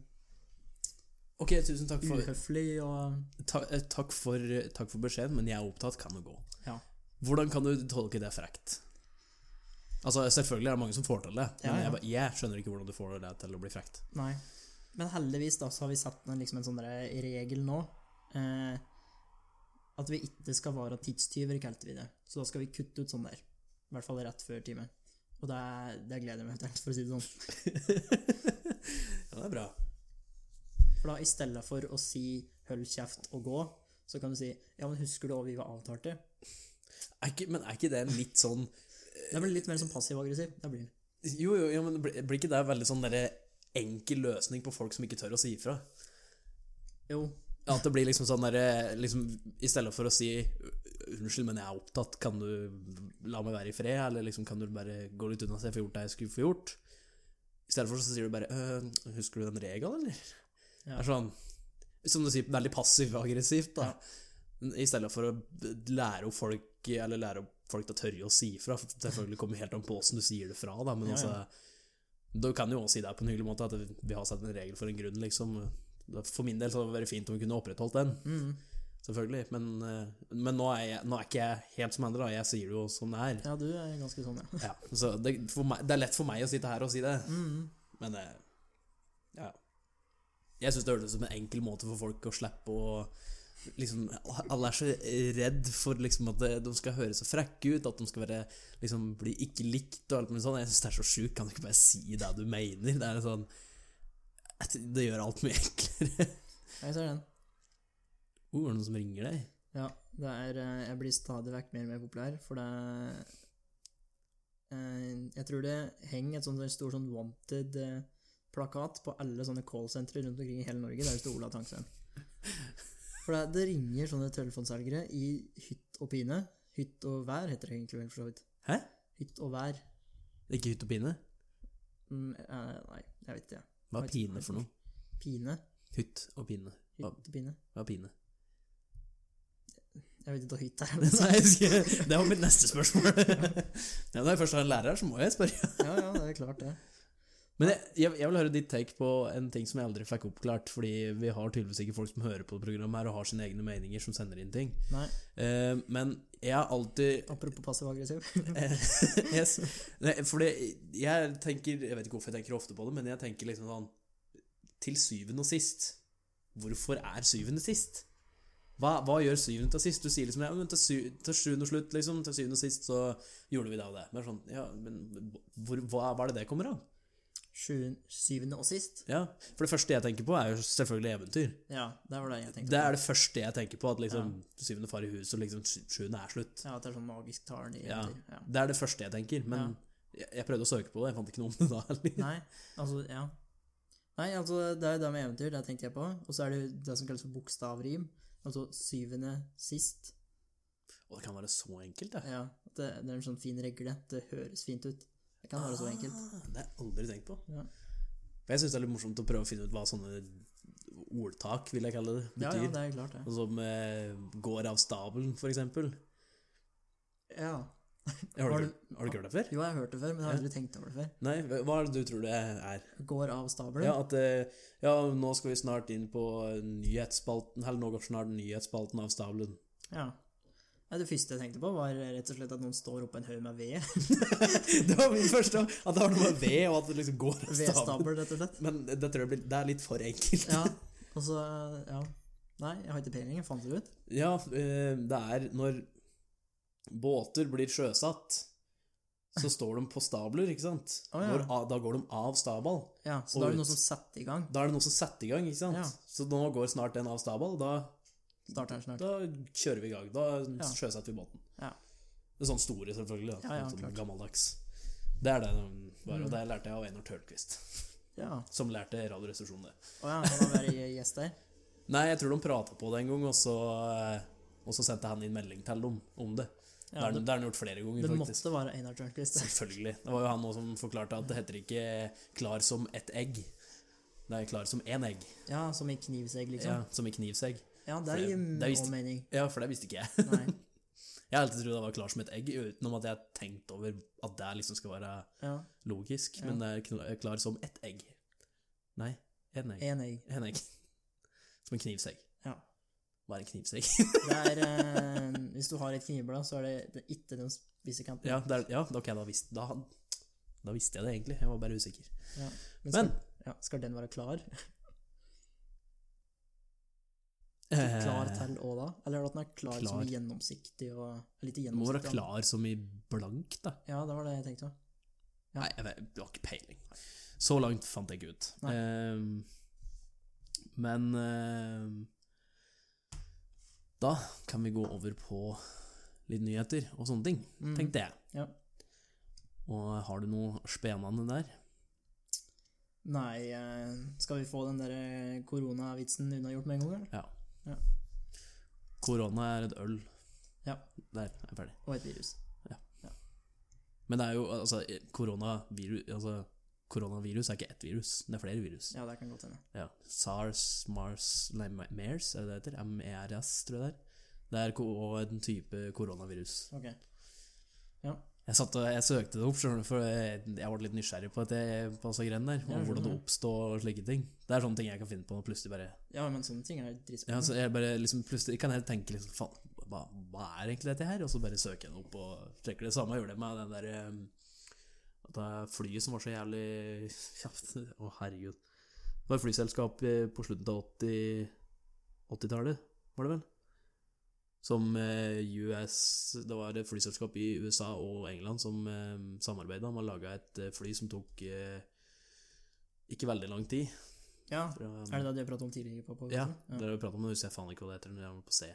Speaker 1: Ok, tusen takk for,
Speaker 2: uhøflig og
Speaker 1: ta, eh, takk for, eh, takk for beskjeden, men jeg er opptatt, kan du gå?
Speaker 2: Ja.
Speaker 1: Hvordan kan du tolke det frekt? Altså, selvfølgelig er det mange som får til det, men
Speaker 2: Ja, ja.
Speaker 1: Jeg, bare- jeg skjønner ikke hvordan du får det til å bli frekt.
Speaker 2: Nei. Men heldigvis da, så har vi satt en, liksom en sånn der regel nå. Eh, at vi ikke skal være tidstyver, kalte vi det. Så da skal vi kutte ut sånn der. I hvert fall rett før timen. Og det, er- det gleder jeg meg til, for å si det sånn.
Speaker 1: Ja, det er bra.
Speaker 2: For da i stedet for å si 'hold kjeft og gå', så kan du si 'ja, men husker du hva vi var avtalt til?'
Speaker 1: Er ikke, men er ikke det litt sånn
Speaker 2: Det blir litt mer sånn passiv-aggressiv. Det blir det.
Speaker 1: Jo, jo, ja, men blir blir ikke det veldig sånn derre enkel løsning på folk som ikke tør å si ifra?
Speaker 2: Jo.
Speaker 1: At det blir liksom sånn derre liksom, I stedet for å si 'Unnskyld, men jeg er opptatt, kan du la meg være i fred?' Eller liksom 'Kan du bare gå litt unna så jeg får gjort det jeg skulle få gjort?' I stedet for så sier du bare «Øh, 'Husker du den regelen, eller?'
Speaker 2: Ja.
Speaker 1: Det er sånn Som du sier, veldig passiv-aggressivt, da. I stedet for å lære opp folk Eller lære opp folk til å tørre å si ifra. for Selvfølgelig kommer det helt an på åssen du sier det fra, da, men
Speaker 2: Ja, ja.
Speaker 1: altså Du kan jo også si det på en hyggelig måte, at vi har satt en regel for en grunn, liksom. For min del så hadde det vært fint om vi kunne opprettholdt den.
Speaker 2: Mm.
Speaker 1: Selvfølgelig, men, eh, men nå, er jeg, nå er ikke jeg helt som andre, da. Jeg sier det jo som det er.
Speaker 2: Ja, du er ganske sånn, ja.
Speaker 1: Ja, så det, for meg, det er lett for meg å sitte her og si det,
Speaker 2: Mm.
Speaker 1: men eh, ja. Jeg syns det hørtes ut som en enkel måte for folk å slippe å liksom, Alle er så redd for liksom, at de skal høre så frekke ut, at de skal være, liksom, bli ikke likt og alt mulig sånn. Jeg syns det er så sjukt. Kan du ikke bare si det du mener? Det er sånn Det gjør alt mye enklere.
Speaker 2: Jeg ser den.
Speaker 1: Oh, er det noen som ringer deg?
Speaker 2: Ja, det er, eh, jeg blir stadig vekk mer og mer populær, for det eh, Jeg tror det henger et sånt en stor sånn wanted-plakat på alle sånne callsentre rundt omkring i hele Norge der det står Ola Tangsveien. For det, det ringer sånne telefonselgere i hytt og pine. Hytt og vær heter det egentlig vel, for så vidt.
Speaker 1: Hæ?
Speaker 2: Hytt og vær.
Speaker 1: Ikke hytt og pine?
Speaker 2: Mm, eh, nei, jeg vet ikke.
Speaker 1: Hva er pine for noe?
Speaker 2: Pine.
Speaker 1: Hytt og pine. Hva,
Speaker 2: Hytt og pine.
Speaker 1: hva er pine? [laughs]
Speaker 2: Jeg vet ikke hva hytt er.
Speaker 1: [laughs] Nei, jeg husker ikke. det var mitt neste spørsmål. [laughs] Ja, når jeg først har en lærer, her, så må jeg spørre. [laughs]
Speaker 2: ja, ja, det er klart, det.
Speaker 1: Men jeg, jeg, jeg vil høre ditt take på en ting som jeg aldri fikk oppklart. Fordi vi har tydeligvis ikke folk som hører på programmet her og har sine egne meninger, som sender inn ting.
Speaker 2: Nei,
Speaker 1: Eh, men jeg har alltid
Speaker 2: apropos passiv-aggressiv.
Speaker 1: eh, [laughs] yes. Nei, Fordi jeg tenker Jeg vet ikke hvorfor jeg tenker ofte på det, men jeg tenker liksom sånn Til syvende og sist, hvorfor er syvende sist? Hva, hva gjør syvende til sist? Du sier liksom ja, men til, sy til sjuende og slutt, liksom. Til syvende og sist så gjorde vi det og det. Men sånn, ja, men hvor, hva, hva er det det kommer av?
Speaker 2: Sjuende- Syvende og sist.
Speaker 1: Ja, For det første jeg tenker på, er jo selvfølgelig eventyr.
Speaker 2: Ja, det var det jeg tenkte
Speaker 1: Det er det første jeg tenker på, at liksom syvende far i huset, og liksom sj- sjuende er slutt.
Speaker 2: Ja, at det er sånn magisk tall i
Speaker 1: Ja.
Speaker 2: eventyr. Ja.
Speaker 1: Det er det første jeg tenker, men jeg, jeg prøvde å søke på det, jeg fant ikke noe om det da heller.
Speaker 2: Nei, altså, ja. Nei, altså, det er jo det med eventyr, det tenkte jeg på. Og så er det jo det som kalles for bokstavrim. Altså syvende sist.
Speaker 1: Og det kan være så enkelt, det.
Speaker 2: Ja, det, det er en sånn fin regle. Det høres fint ut. Det kan være så enkelt.
Speaker 1: Ah, det har jeg aldri tenkt på.
Speaker 2: Ja.
Speaker 1: For Jeg syns det er litt morsomt å prøve å finne ut hva sånne ordtak, vil jeg kalle det,
Speaker 2: Ja,
Speaker 1: betyr.
Speaker 2: ja, det er klart det.
Speaker 1: Som eh, går av stabelen, for eksempel.
Speaker 2: Ja.
Speaker 1: Har
Speaker 2: Har
Speaker 1: du,
Speaker 2: du-
Speaker 1: ikke- har du ikke hørt det før?
Speaker 2: Jo, jeg har hørt det før, men jeg har aldri tenkt over det før.
Speaker 1: Nei, hva er det du tror det er?
Speaker 2: Går av stabelen.
Speaker 1: Ja, at eh, ja, nå skal vi snart inn på nyhetsspalten, eller nå går snart nyhetsspalten av stabelen. [laughs]
Speaker 2: Ja. Nei, Det første jeg tenkte på, var rett og slett at noen står oppå en haug med ved. [laughs]
Speaker 1: det var min første, at det var noe med ved, og at det liksom går av stabelen.
Speaker 2: Vedstabel, rett og slett.
Speaker 1: Men det tror jeg blir, det er litt for enkelt.
Speaker 2: Ja, og så Ja. Nei, jeg har ikke peiling. Jeg fant det ut.
Speaker 1: Ja, eh, det er når båter blir sjøsatt, så står de på stabler, ikke sant?
Speaker 2: Å, ja.
Speaker 1: Når av- da går de av stabel.
Speaker 2: Ja, Så
Speaker 1: Og
Speaker 2: da er det
Speaker 1: ut.
Speaker 2: noen som setter i gang.
Speaker 1: Da er det noen som setter i gang, ikke sant?
Speaker 2: Ja.
Speaker 1: Så nå går snart den av stabel, da,
Speaker 2: Starter her snart.
Speaker 1: da kjører vi i gang. Da sjøsetter vi båten.
Speaker 2: Ja.
Speaker 1: Det er sånn store, selvfølgelig. Da.
Speaker 2: Ja, ja,
Speaker 1: sånn
Speaker 2: klart. Mm.
Speaker 1: gammeldags. Det er det de var, og det lærte jeg av Einar Tørnquist,
Speaker 2: Ja.
Speaker 1: som lærte Radioresepsjonen det.
Speaker 2: Å ja, han var gjest
Speaker 1: [laughs]
Speaker 2: der.
Speaker 1: eh, Nei, jeg tror de prata på det en gang, og så, og så sendte han inn melding til dem om det. det
Speaker 2: Ja,
Speaker 1: har
Speaker 2: det,
Speaker 1: den- det har den gjort flere ganger,
Speaker 2: det
Speaker 1: faktisk.
Speaker 2: måtte være Einar Tørnquist.
Speaker 1: Selvfølgelig. Det var jo han også som forklarte at det heter ikke 'klar som ett egg'. Det er 'klar som én egg',
Speaker 2: Ja, som i knivsegg, liksom.
Speaker 1: ja, som i knivsegg.
Speaker 2: Ja, det
Speaker 1: For
Speaker 2: gir
Speaker 1: det- det
Speaker 2: òg
Speaker 1: visste-
Speaker 2: mening.
Speaker 1: Ja, for det visste ikke jeg. [laughs]
Speaker 2: Nei.
Speaker 1: Jeg har alltid trodd det var 'klar som et egg', utenom at jeg har tenkt over at det liksom skal være
Speaker 2: Ja,
Speaker 1: logisk. Men det er kn- 'klar som ett egg'. Nei, én egg.
Speaker 2: én egg.
Speaker 1: En egg. [laughs] Som en knivsegg.
Speaker 2: Ja.
Speaker 1: Hva er en knivsegg?
Speaker 2: Det er, eh, hvis du har et knivblad, så er det, det er ikke den
Speaker 1: [laughs]
Speaker 2: spisekanten.
Speaker 1: ja, det er, ja, ok, da visste, da, da visste jeg det egentlig. Jeg var bare usikker.
Speaker 2: Men,
Speaker 1: Men
Speaker 2: skal, ja, skal den være klar?
Speaker 1: eh,
Speaker 2: Klar til og da? Eller at den er klar, som
Speaker 1: Klar.
Speaker 2: i gjennomsiktig og litt
Speaker 1: Må være
Speaker 2: gjennomsiktig?
Speaker 1: klar som i blank, da.
Speaker 2: Ja, det var det jeg tenkte. Ja.
Speaker 1: Nei, jeg vet, det var ikke peiling. Så langt fant jeg ikke ut.
Speaker 2: Nei.
Speaker 1: Ehm, men ehm, da kan vi gå over på litt nyheter og sånne ting,
Speaker 2: Mm.
Speaker 1: tenkte jeg.
Speaker 2: Ja.
Speaker 1: Og har du noe spennende der?
Speaker 2: Nei, eh, skal vi få den der eh, koronavitsen unnagjort med en gang, eller?
Speaker 1: Ja.
Speaker 2: Ja.
Speaker 1: Korona er et øl.
Speaker 2: Ja.
Speaker 1: Der er jeg ferdig.
Speaker 2: Og et virus.
Speaker 1: Men det er jo altså, koronavirus, altså Koronavirus er ikke ett virus, det er flere virus.
Speaker 2: Ja, det kan godt hende.
Speaker 1: Ja. SARS, MARS, nei, Ma- MERS, er det det heter? MERS, tror jeg det er. Det er ko- og en type koronavirus.
Speaker 2: Ok.
Speaker 1: Jeg, satt og, jeg søkte det opp, skjønner du, for jeg, jeg ble litt nysgjerrig på, at jeg, på disse greiene der.
Speaker 2: Ja,
Speaker 1: Og
Speaker 2: jeg
Speaker 1: hvordan det
Speaker 2: skjønner.
Speaker 1: oppstår og slike ting. Det er sånne ting jeg kan finne på og plutselig bare
Speaker 2: Ja, men sånne ting er
Speaker 1: ja,
Speaker 2: dritspennende.
Speaker 1: så jeg bare liksom plutselig kan jeg tenke liksom, faen, hva, hva er egentlig dette her? Og så bare søker jeg det opp og sjekker det. Samme gjorde jeg med den der eh, at det er flyet som var så jævlig kjapt. [laughs] Å, herregud. Det var et flyselskap eh, på slutten av 80 80-tallet, var det vel? Som eh, US Det var et flyselskap i USA og England som eh, samarbeida om å lage et eh, fly som tok eh, ikke veldig lang tid.
Speaker 2: Ja,
Speaker 1: Fra,
Speaker 2: er det det de har pratet om tidligere på podcasten?
Speaker 1: ja, det har vi pratet om, men husker jeg faen ikke hva det heter når jeg var på C,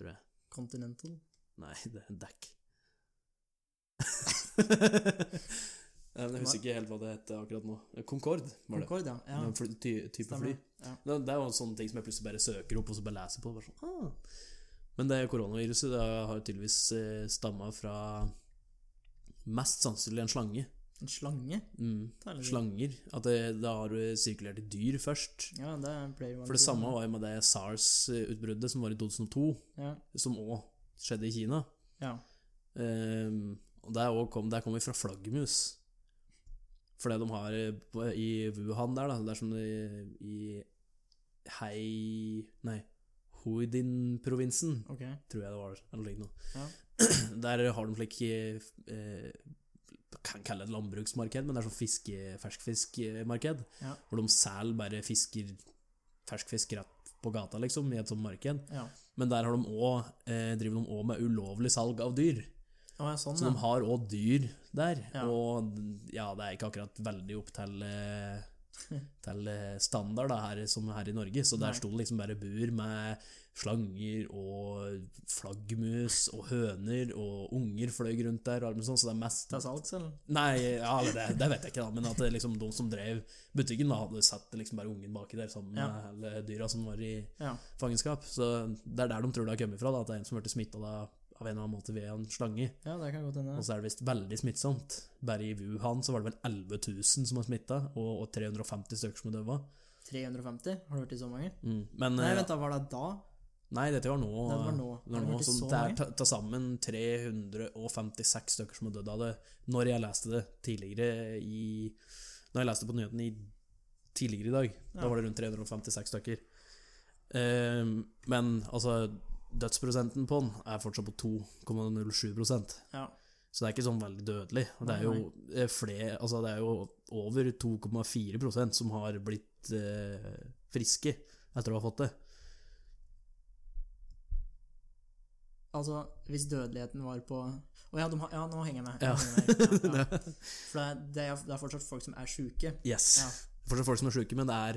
Speaker 1: tror jeg.
Speaker 2: Continental.
Speaker 1: Nei, [laughs] det er dekk. Nei, men jeg husker ikke helt hva det heter akkurat nå. Concorde, var det.
Speaker 2: Concorde, ja. ja.
Speaker 1: En fly, ty, type
Speaker 2: Stemmer.
Speaker 1: fly.
Speaker 2: det. Ja.
Speaker 1: Det, det er jo en sånn ting som jeg plutselig bare søker opp og så bare leser på. Bare sånn, ah. Men det koronaviruset det har tydeligvis eh, stamma fra mest sannsynlig en slange.
Speaker 2: En slange?
Speaker 1: Mm.
Speaker 2: Det er litt-
Speaker 1: Slanger. At det, det har eh, sirkulert i dyr først.
Speaker 2: Ja, det pleier å være
Speaker 1: For det samme var jo med det SARS-utbruddet som var i 2002.
Speaker 2: Ja.
Speaker 1: som òg skjedde i Kina.
Speaker 2: ja.
Speaker 1: Ehm, og der, også kom, der kom vi fra flaggermus. For det de har eh, på- i Wuhan der, da, det er som det i Hei Nei, Huidin-provinsen,
Speaker 2: Ok.
Speaker 1: tror jeg det var. Eller noe lignende.
Speaker 2: Ja.
Speaker 1: [clears throat] Der har de slik eh, eh, Kan kalle det et landbruksmarked, men det er sånn fiske, ferskfiskmarked.
Speaker 2: Ja.
Speaker 1: Hvor de selger bare fisker ferskfisk rett på gata, liksom, i et sånt marked.
Speaker 2: Ja.
Speaker 1: Men der har de også, eh, driver de òg med ulovlig salg av dyr.
Speaker 2: Å, ja, sånn,
Speaker 1: Så de
Speaker 2: ja.
Speaker 1: har òg dyr der.
Speaker 2: Ja.
Speaker 1: Og ja, det er ikke akkurat veldig opp til, eh, til eh, standard da, her, som her i Norge. Så
Speaker 2: Nei.
Speaker 1: der sto det liksom bare bur med slanger og flaggermus og høner, og unger fløy rundt der. Og alt mulig sånt, så det er mest
Speaker 2: Det er salgs, eller?
Speaker 1: Nei, ja, eller det, det vet jeg ikke, da. Men at det liksom, de som drev butikken, da, hadde satt liksom bare ungen baki der sammen med
Speaker 2: Ja.
Speaker 1: alle dyra som var i
Speaker 2: Ja.
Speaker 1: fangenskap. Så det er der de tror det har kommet fra, da, at det er en som ble smitta av en eller annen måte via en slange.
Speaker 2: ja, det kan godt hende.
Speaker 1: Og så er det visst veldig smittsomt. Bare i Wuhan så var det vel 11 000 som var smitta, og, og 350 stykker som er døde.
Speaker 2: 350? Har du hørt i så mange?
Speaker 1: Mm. Men
Speaker 2: Nei,
Speaker 1: eh,
Speaker 2: vent da, var det da?
Speaker 1: nei, dette var nå.
Speaker 2: Det var nå.
Speaker 1: Det, var
Speaker 2: Har det
Speaker 1: nå
Speaker 2: vært
Speaker 1: så
Speaker 2: så
Speaker 1: det er
Speaker 2: mange?
Speaker 1: ta, ta sammen 356 stykker som er dødd av det. Når jeg leste det tidligere i Når jeg leste på nyheten i, tidligere i dag,
Speaker 2: Ja.
Speaker 1: da var det rundt 356 stykker. Ehm, men altså Dødsprosenten på den er fortsatt på 2,07
Speaker 2: Ja.
Speaker 1: Så det er ikke sånn veldig dødelig. Og Det
Speaker 2: Nei,
Speaker 1: er jo, eh, flere, altså det er jo over 2,4 som har blitt eh, friske etter å ha fått det.
Speaker 2: Altså, hvis dødeligheten var på Å ja, de har... ja, nå henger jeg med.
Speaker 1: Ja.
Speaker 2: Jeg
Speaker 1: [laughs]
Speaker 2: henger med. Ja, ja. For det er, det, er, det er fortsatt folk som er sjuke.
Speaker 1: yes.
Speaker 2: Ja.
Speaker 1: Fortsatt folk som er sjuke, men det er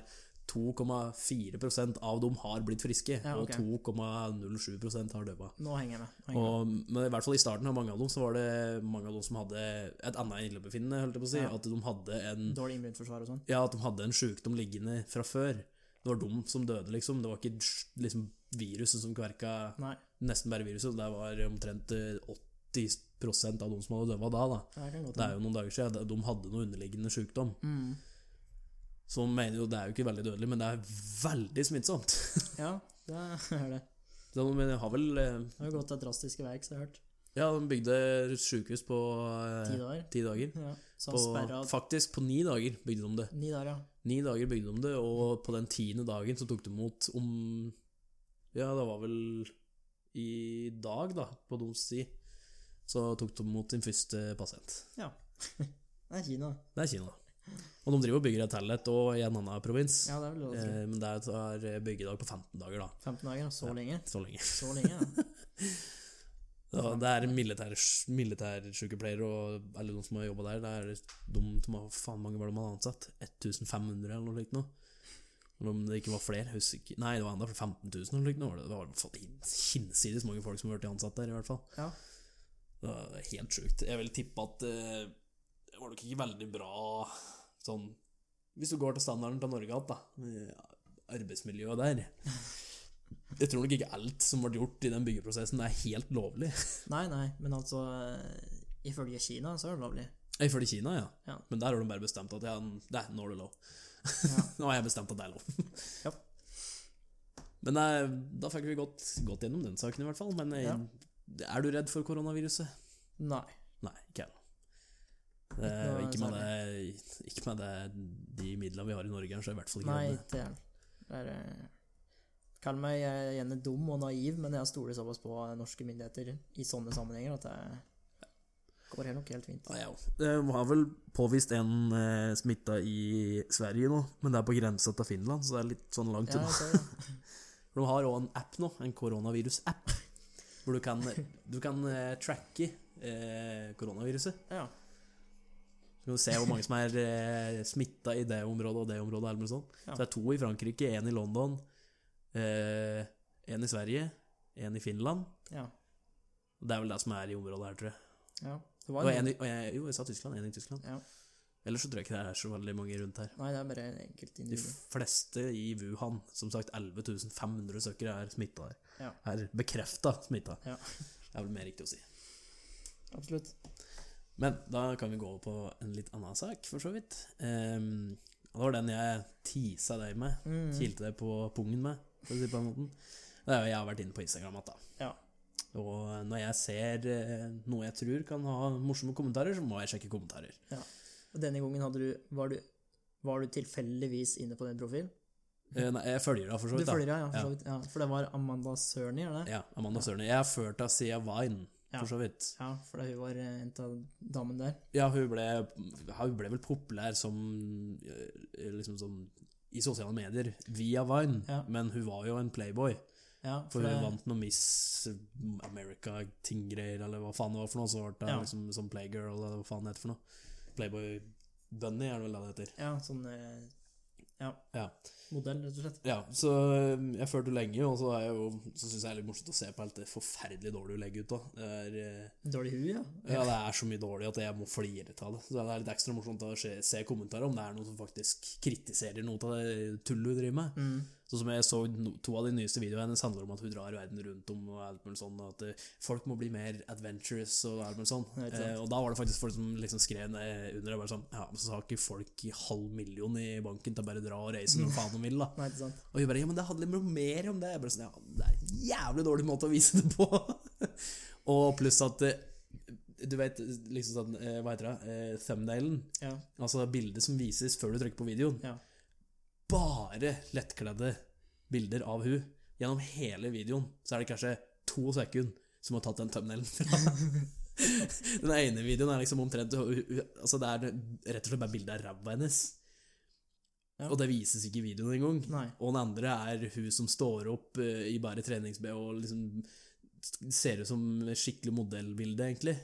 Speaker 1: 2,4 av dem har blitt friske,
Speaker 2: Ja, ok.
Speaker 1: og 2,07 har døva.
Speaker 2: Nå henger jeg med. Nå henger jeg med.
Speaker 1: Og, men i hvert fall i starten av mange av dem så var det mange av dem som hadde et annet illebefinnende, holdt jeg på å si.
Speaker 2: Ja.
Speaker 1: At de hadde en
Speaker 2: Dårlig immunforsvar og sånn.
Speaker 1: Ja, at de hadde en sjukdom liggende fra før. Det var de som døde, liksom. Det var ikke liksom, viruset som kverka
Speaker 2: Nei.
Speaker 1: Nesten bare viruset. Det var omtrent eh, åt- 80 av de som hadde dødd da, da.
Speaker 2: Ja, det kan godt
Speaker 1: Det er jo noen dager siden. De hadde noe underliggende sykdom.
Speaker 2: Mm.
Speaker 1: Som mener jo det er jo ikke veldig dødelig, men det er veldig smittsomt. [laughs]
Speaker 2: Ja, det er det.
Speaker 1: Så de mener, har vel eh,
Speaker 2: Det har jo gått til drastiske verk, så jeg har hørt.
Speaker 1: Ja, de bygde sykehus på eh,
Speaker 2: Ti dager.
Speaker 1: ti dager.
Speaker 2: Ja, så
Speaker 1: På,
Speaker 2: han sperra
Speaker 1: faktisk på ni dager bygde de det.
Speaker 2: Ni dager, ja.
Speaker 1: Ni dager bygde de det, og på den tiende dagen så tok de imot om Ja, det var vel i dag, da, på deres tid, så tok de imot sin første pasient.
Speaker 2: Ja. [laughs] Det er Kina.
Speaker 1: Det er Kina. Og de driver og bygger et tallet og i en annen provins.
Speaker 2: Ja, det er vel lov å tro.
Speaker 1: Eh, Men det er et byggedag på 15 dager, da.
Speaker 2: 15 dager, ja. så
Speaker 1: Ja.
Speaker 2: lenge.
Speaker 1: Så lenge.
Speaker 2: Så lenge, ja.
Speaker 1: Ja, det er militær- militærsykepleiere og alle de som har jobba der. Det er de som har faen mange var de hadde ansatt. 1500 eller noe slikt noe. Eller Om det ikke var flere, husker ikke. Nei, det var enda flere, 15 000 eller noe slikt. nå var Det Det var fått hinsides mange folk som har vært ansatt der, i hvert fall.
Speaker 2: Ja.
Speaker 1: Det var helt sjukt. Jeg vil tippe at eh, det var nok ikke veldig bra sånn Hvis du går til standarden til Norge igjen, da. eh, Arbeidsmiljøet der. Jeg tror nok ikke alt som ble gjort i den byggeprosessen, er helt lovlig.
Speaker 2: Nei, nei, men altså eh, Ifølge Kina så er det lovlig.
Speaker 1: Ifølge Kina, ja.
Speaker 2: Ja.
Speaker 1: Men der har de bare bestemt at ja, det, nå er det lov.
Speaker 2: Ja.
Speaker 1: [laughs] Nå har jeg bestemt at det er lov.
Speaker 2: Ja.
Speaker 1: Men eh, da fikk vi gått, gått gjennom den saken, i hvert fall. Men eh,
Speaker 2: Ja.
Speaker 1: er du redd for koronaviruset?
Speaker 2: Nei.
Speaker 1: Nei, ikke jeg. Det er jo
Speaker 2: noe
Speaker 1: Ikke, med det, ikke med det, de midlene vi har i Norge, så er jeg i hvert fall ikke
Speaker 2: Nei,
Speaker 1: redd.
Speaker 2: det er det er, eh, Kall meg eh, gjerne dum og naiv, men jeg stoler såpass på norske myndigheter i sånne sammenhenger at det går helt nok helt fint.
Speaker 1: Ja, jeg også. Det var vel påvist en eh, smitta i Sverige nå, men det er på grensa til Finland, så det er litt sånn langt
Speaker 2: Ja,
Speaker 1: unna.
Speaker 2: jeg ser det.
Speaker 1: For de har òg en app nå, en koronavirus-app, hvor du kan, du kan eh, tracke eh, koronaviruset.
Speaker 2: Ja.
Speaker 1: Så kan du se hvor mange som er eh, smitta i det området og det området. Eller noe sånt.
Speaker 2: Ja.
Speaker 1: Så det er to i Frankrike, én i London, én i Sverige, én i Finland.
Speaker 2: ja.
Speaker 1: Og Det er vel det som er i området her, tror jeg.
Speaker 2: ja. Det
Speaker 1: Og
Speaker 2: var en,
Speaker 1: en, i- og jeg jo, jeg sa Tyskland. En i Tyskland.
Speaker 2: Ja.
Speaker 1: Ellers så tror jeg ikke det er så veldig mange rundt her.
Speaker 2: nei, det er bare en enkelt
Speaker 1: De
Speaker 2: individ.
Speaker 1: fleste i Wuhan, som sagt 11 500 stykker, er smitta her.
Speaker 2: Ja.
Speaker 1: Er bekrefta smitta.
Speaker 2: Ja.
Speaker 1: Det er vel mer riktig å si.
Speaker 2: Absolutt.
Speaker 1: Men da kan vi gå over på en litt annen sak, for så vidt. Ehm, og det var den jeg tisa deg med.
Speaker 2: Mm.
Speaker 1: Kilte deg på pungen med, for å si det på den måten. Det er jo jeg har vært inne på Instagram igjen, da.
Speaker 2: Ja.
Speaker 1: Og når jeg ser eh, noe jeg tror kan ha morsomme kommentarer, så må jeg sjekke kommentarer.
Speaker 2: Og denne gangen hadde du, var, du, var du tilfeldigvis inne på den profilen?
Speaker 1: Eh, nei, jeg følger da, for så
Speaker 2: Du
Speaker 1: vidt. da.
Speaker 2: følger deg, ja, for
Speaker 1: Ja.
Speaker 2: så vidt. Ja, for det var Amanda Cerny, er det?
Speaker 1: Ja, Amanda Sørne. Jeg har ført henne siden Vine,
Speaker 2: Ja.
Speaker 1: for så vidt.
Speaker 2: Ja, for da hun var eh, en av damene der.
Speaker 1: Ja, hun ble, hun ble vel populær som eh, liksom som i sosiale medier via Vine,
Speaker 2: Ja.
Speaker 1: men hun var jo en playboy.
Speaker 2: Ja,
Speaker 1: For
Speaker 2: det,
Speaker 1: hun vant noe Miss America-tinggreier, eller hva faen det var for noe. Så ble det
Speaker 2: Ja.
Speaker 1: liksom som Playgirl, eller hva faen det heter for noe. Playboy Bunny er det vel det det heter.
Speaker 2: Ja, sånn eh, ja,
Speaker 1: Ja.
Speaker 2: modell, rett og slett.
Speaker 1: Ja, så øhm, jeg følte lenge, og så, er jeg jo, så syns jeg det er litt morsomt å se på alt det forferdelig dårlige hun legger ut. da. Det er, eh,
Speaker 2: Dårlig hue, ja.
Speaker 1: ja, det er så mye dårlig at jeg må flire av det. Så det er litt ekstra morsomt å se, se kommentarer om det er noen som faktisk kritiserer noe av det tullet hun driver med.
Speaker 2: Mm.
Speaker 1: Sånn som jeg så no- to av de nyeste videoene hennes handler om at hun drar verden rundt om og alt mulig sånn, og at eh, folk må bli mer adventurous og alt mulig sånn.
Speaker 2: Ja, ikke sant.
Speaker 1: Eh, og da var det faktisk folk som liksom skrev det under og bare sånn Ja, men så har ikke folk i halv million i banken til å bare dra og reise når faen de vil, da.
Speaker 2: [laughs] Nei, ikke sant.
Speaker 1: Og jeg bare Ja, men det handler jo mer om det. Jeg bare sånn Ja, det er en jævlig dårlig måte å vise det på. [laughs] og pluss at eh, Du vet liksom sånn eh, Hva heter det? Eh, Thumbnailen.
Speaker 2: Ja,
Speaker 1: Altså bildet som vises før du trykker på videoen.
Speaker 2: Ja.
Speaker 1: Bare lettkledde bilder av hun. Gjennom hele videoen så er det kanskje to sekunder som har tatt den thumbnailen fra. [laughs] den ene videoen er liksom omtrent hun- hun- Altså Det er rett og slett bare bilde av ræva hennes.
Speaker 2: Ja.
Speaker 1: Og det vises ikke i videoen engang.
Speaker 2: nei.
Speaker 1: Og den andre er hun som står opp eh, i bare treningsbh og liksom ser ut som skikkelig modellbilde, egentlig.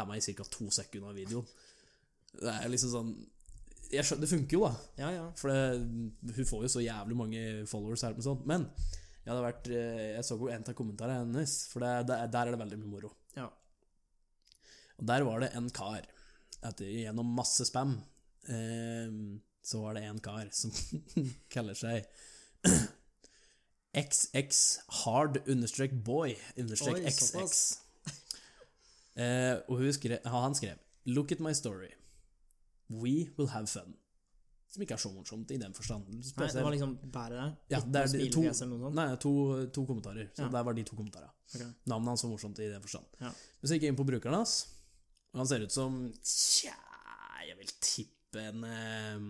Speaker 1: Er meg i ca. to sekunder av videoen. Det er liksom sånn jeg skjønner, Det funker jo, da.
Speaker 2: Ja, ja.
Speaker 1: For det, hun får jo så jævlig mange followers. Her, og sånn. Men jeg, hadde vært, eh, jeg så jo en av kommentarene hennes, for det, der- der er det veldig mye moro.
Speaker 2: Ja.
Speaker 1: Og der var det en kar, etter, gjennom masse spam, eh, så var det en kar som [laughs] kaller seg [clears throat] XX hard understrek boy understrek
Speaker 2: Oi,
Speaker 1: XX. [laughs] Eh, og hun skre, ja, han skrev Look at my story. We will have fun. Som ikke er så morsomt i den forstand.
Speaker 2: Nei, det var liksom bare det?
Speaker 1: Ja,
Speaker 2: Ikke
Speaker 1: det er
Speaker 2: noe
Speaker 1: de to-
Speaker 2: smilefjes eller noe sånt?
Speaker 1: Nei, to, to kommentarer. Så
Speaker 2: Ja.
Speaker 1: der var de to kommentarene.
Speaker 2: Ok.
Speaker 1: Navnet hans var morsomt i den forstand.
Speaker 2: Ja.
Speaker 1: Men så gikk jeg inn på brukeren hans, og han ser ut som Tja, jeg vil tippe en eh,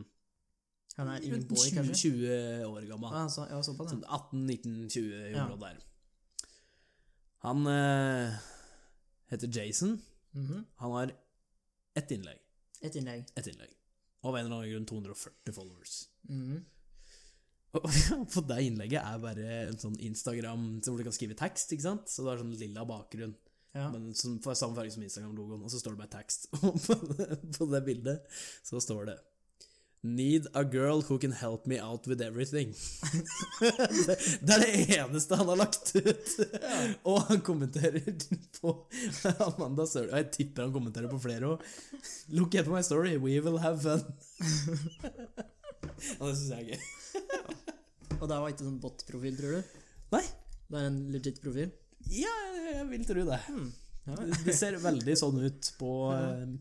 Speaker 2: Han er ingen
Speaker 1: rundt
Speaker 2: boy,
Speaker 1: 20,
Speaker 2: kanskje?
Speaker 1: 20 år gammel.
Speaker 2: Ah, så, ja, såpass, ja.
Speaker 1: Sånn 18-19-20 i
Speaker 2: Ja.
Speaker 1: området der. Han eh, heter Jason.
Speaker 2: Mhm.
Speaker 1: Han har ett innlegg.
Speaker 2: Et innlegg.
Speaker 1: Ett innlegg. Og av en eller annen grunn 240 followers.
Speaker 2: Mhm.
Speaker 1: Og [laughs] på det innlegget er bare en sånn Instagram hvor du kan skrive tekst, ikke sant? Så det er sånn lilla bakgrunn.
Speaker 2: Ja.
Speaker 1: Men som får samme farge som Instagram-logoen, og så står det bare [laughs] tekst. Og på det, på det bildet så står det Need a girl who can help me out with everything. [laughs] det, det er det eneste han har lagt ut! Og han kommenterer på Amanda Sørli, og jeg tipper han kommenterer på flere òg. Look at my story, we will have fun. ja, det syns jeg er gøy.
Speaker 2: Og det var ikke sånn bot-profil, tror du?
Speaker 1: Nei,
Speaker 2: Det er en legit profil?
Speaker 1: ja, jeg vil tro det.
Speaker 2: Hmm. Ja, vel.
Speaker 1: Det det ser veldig sånn ut på eh,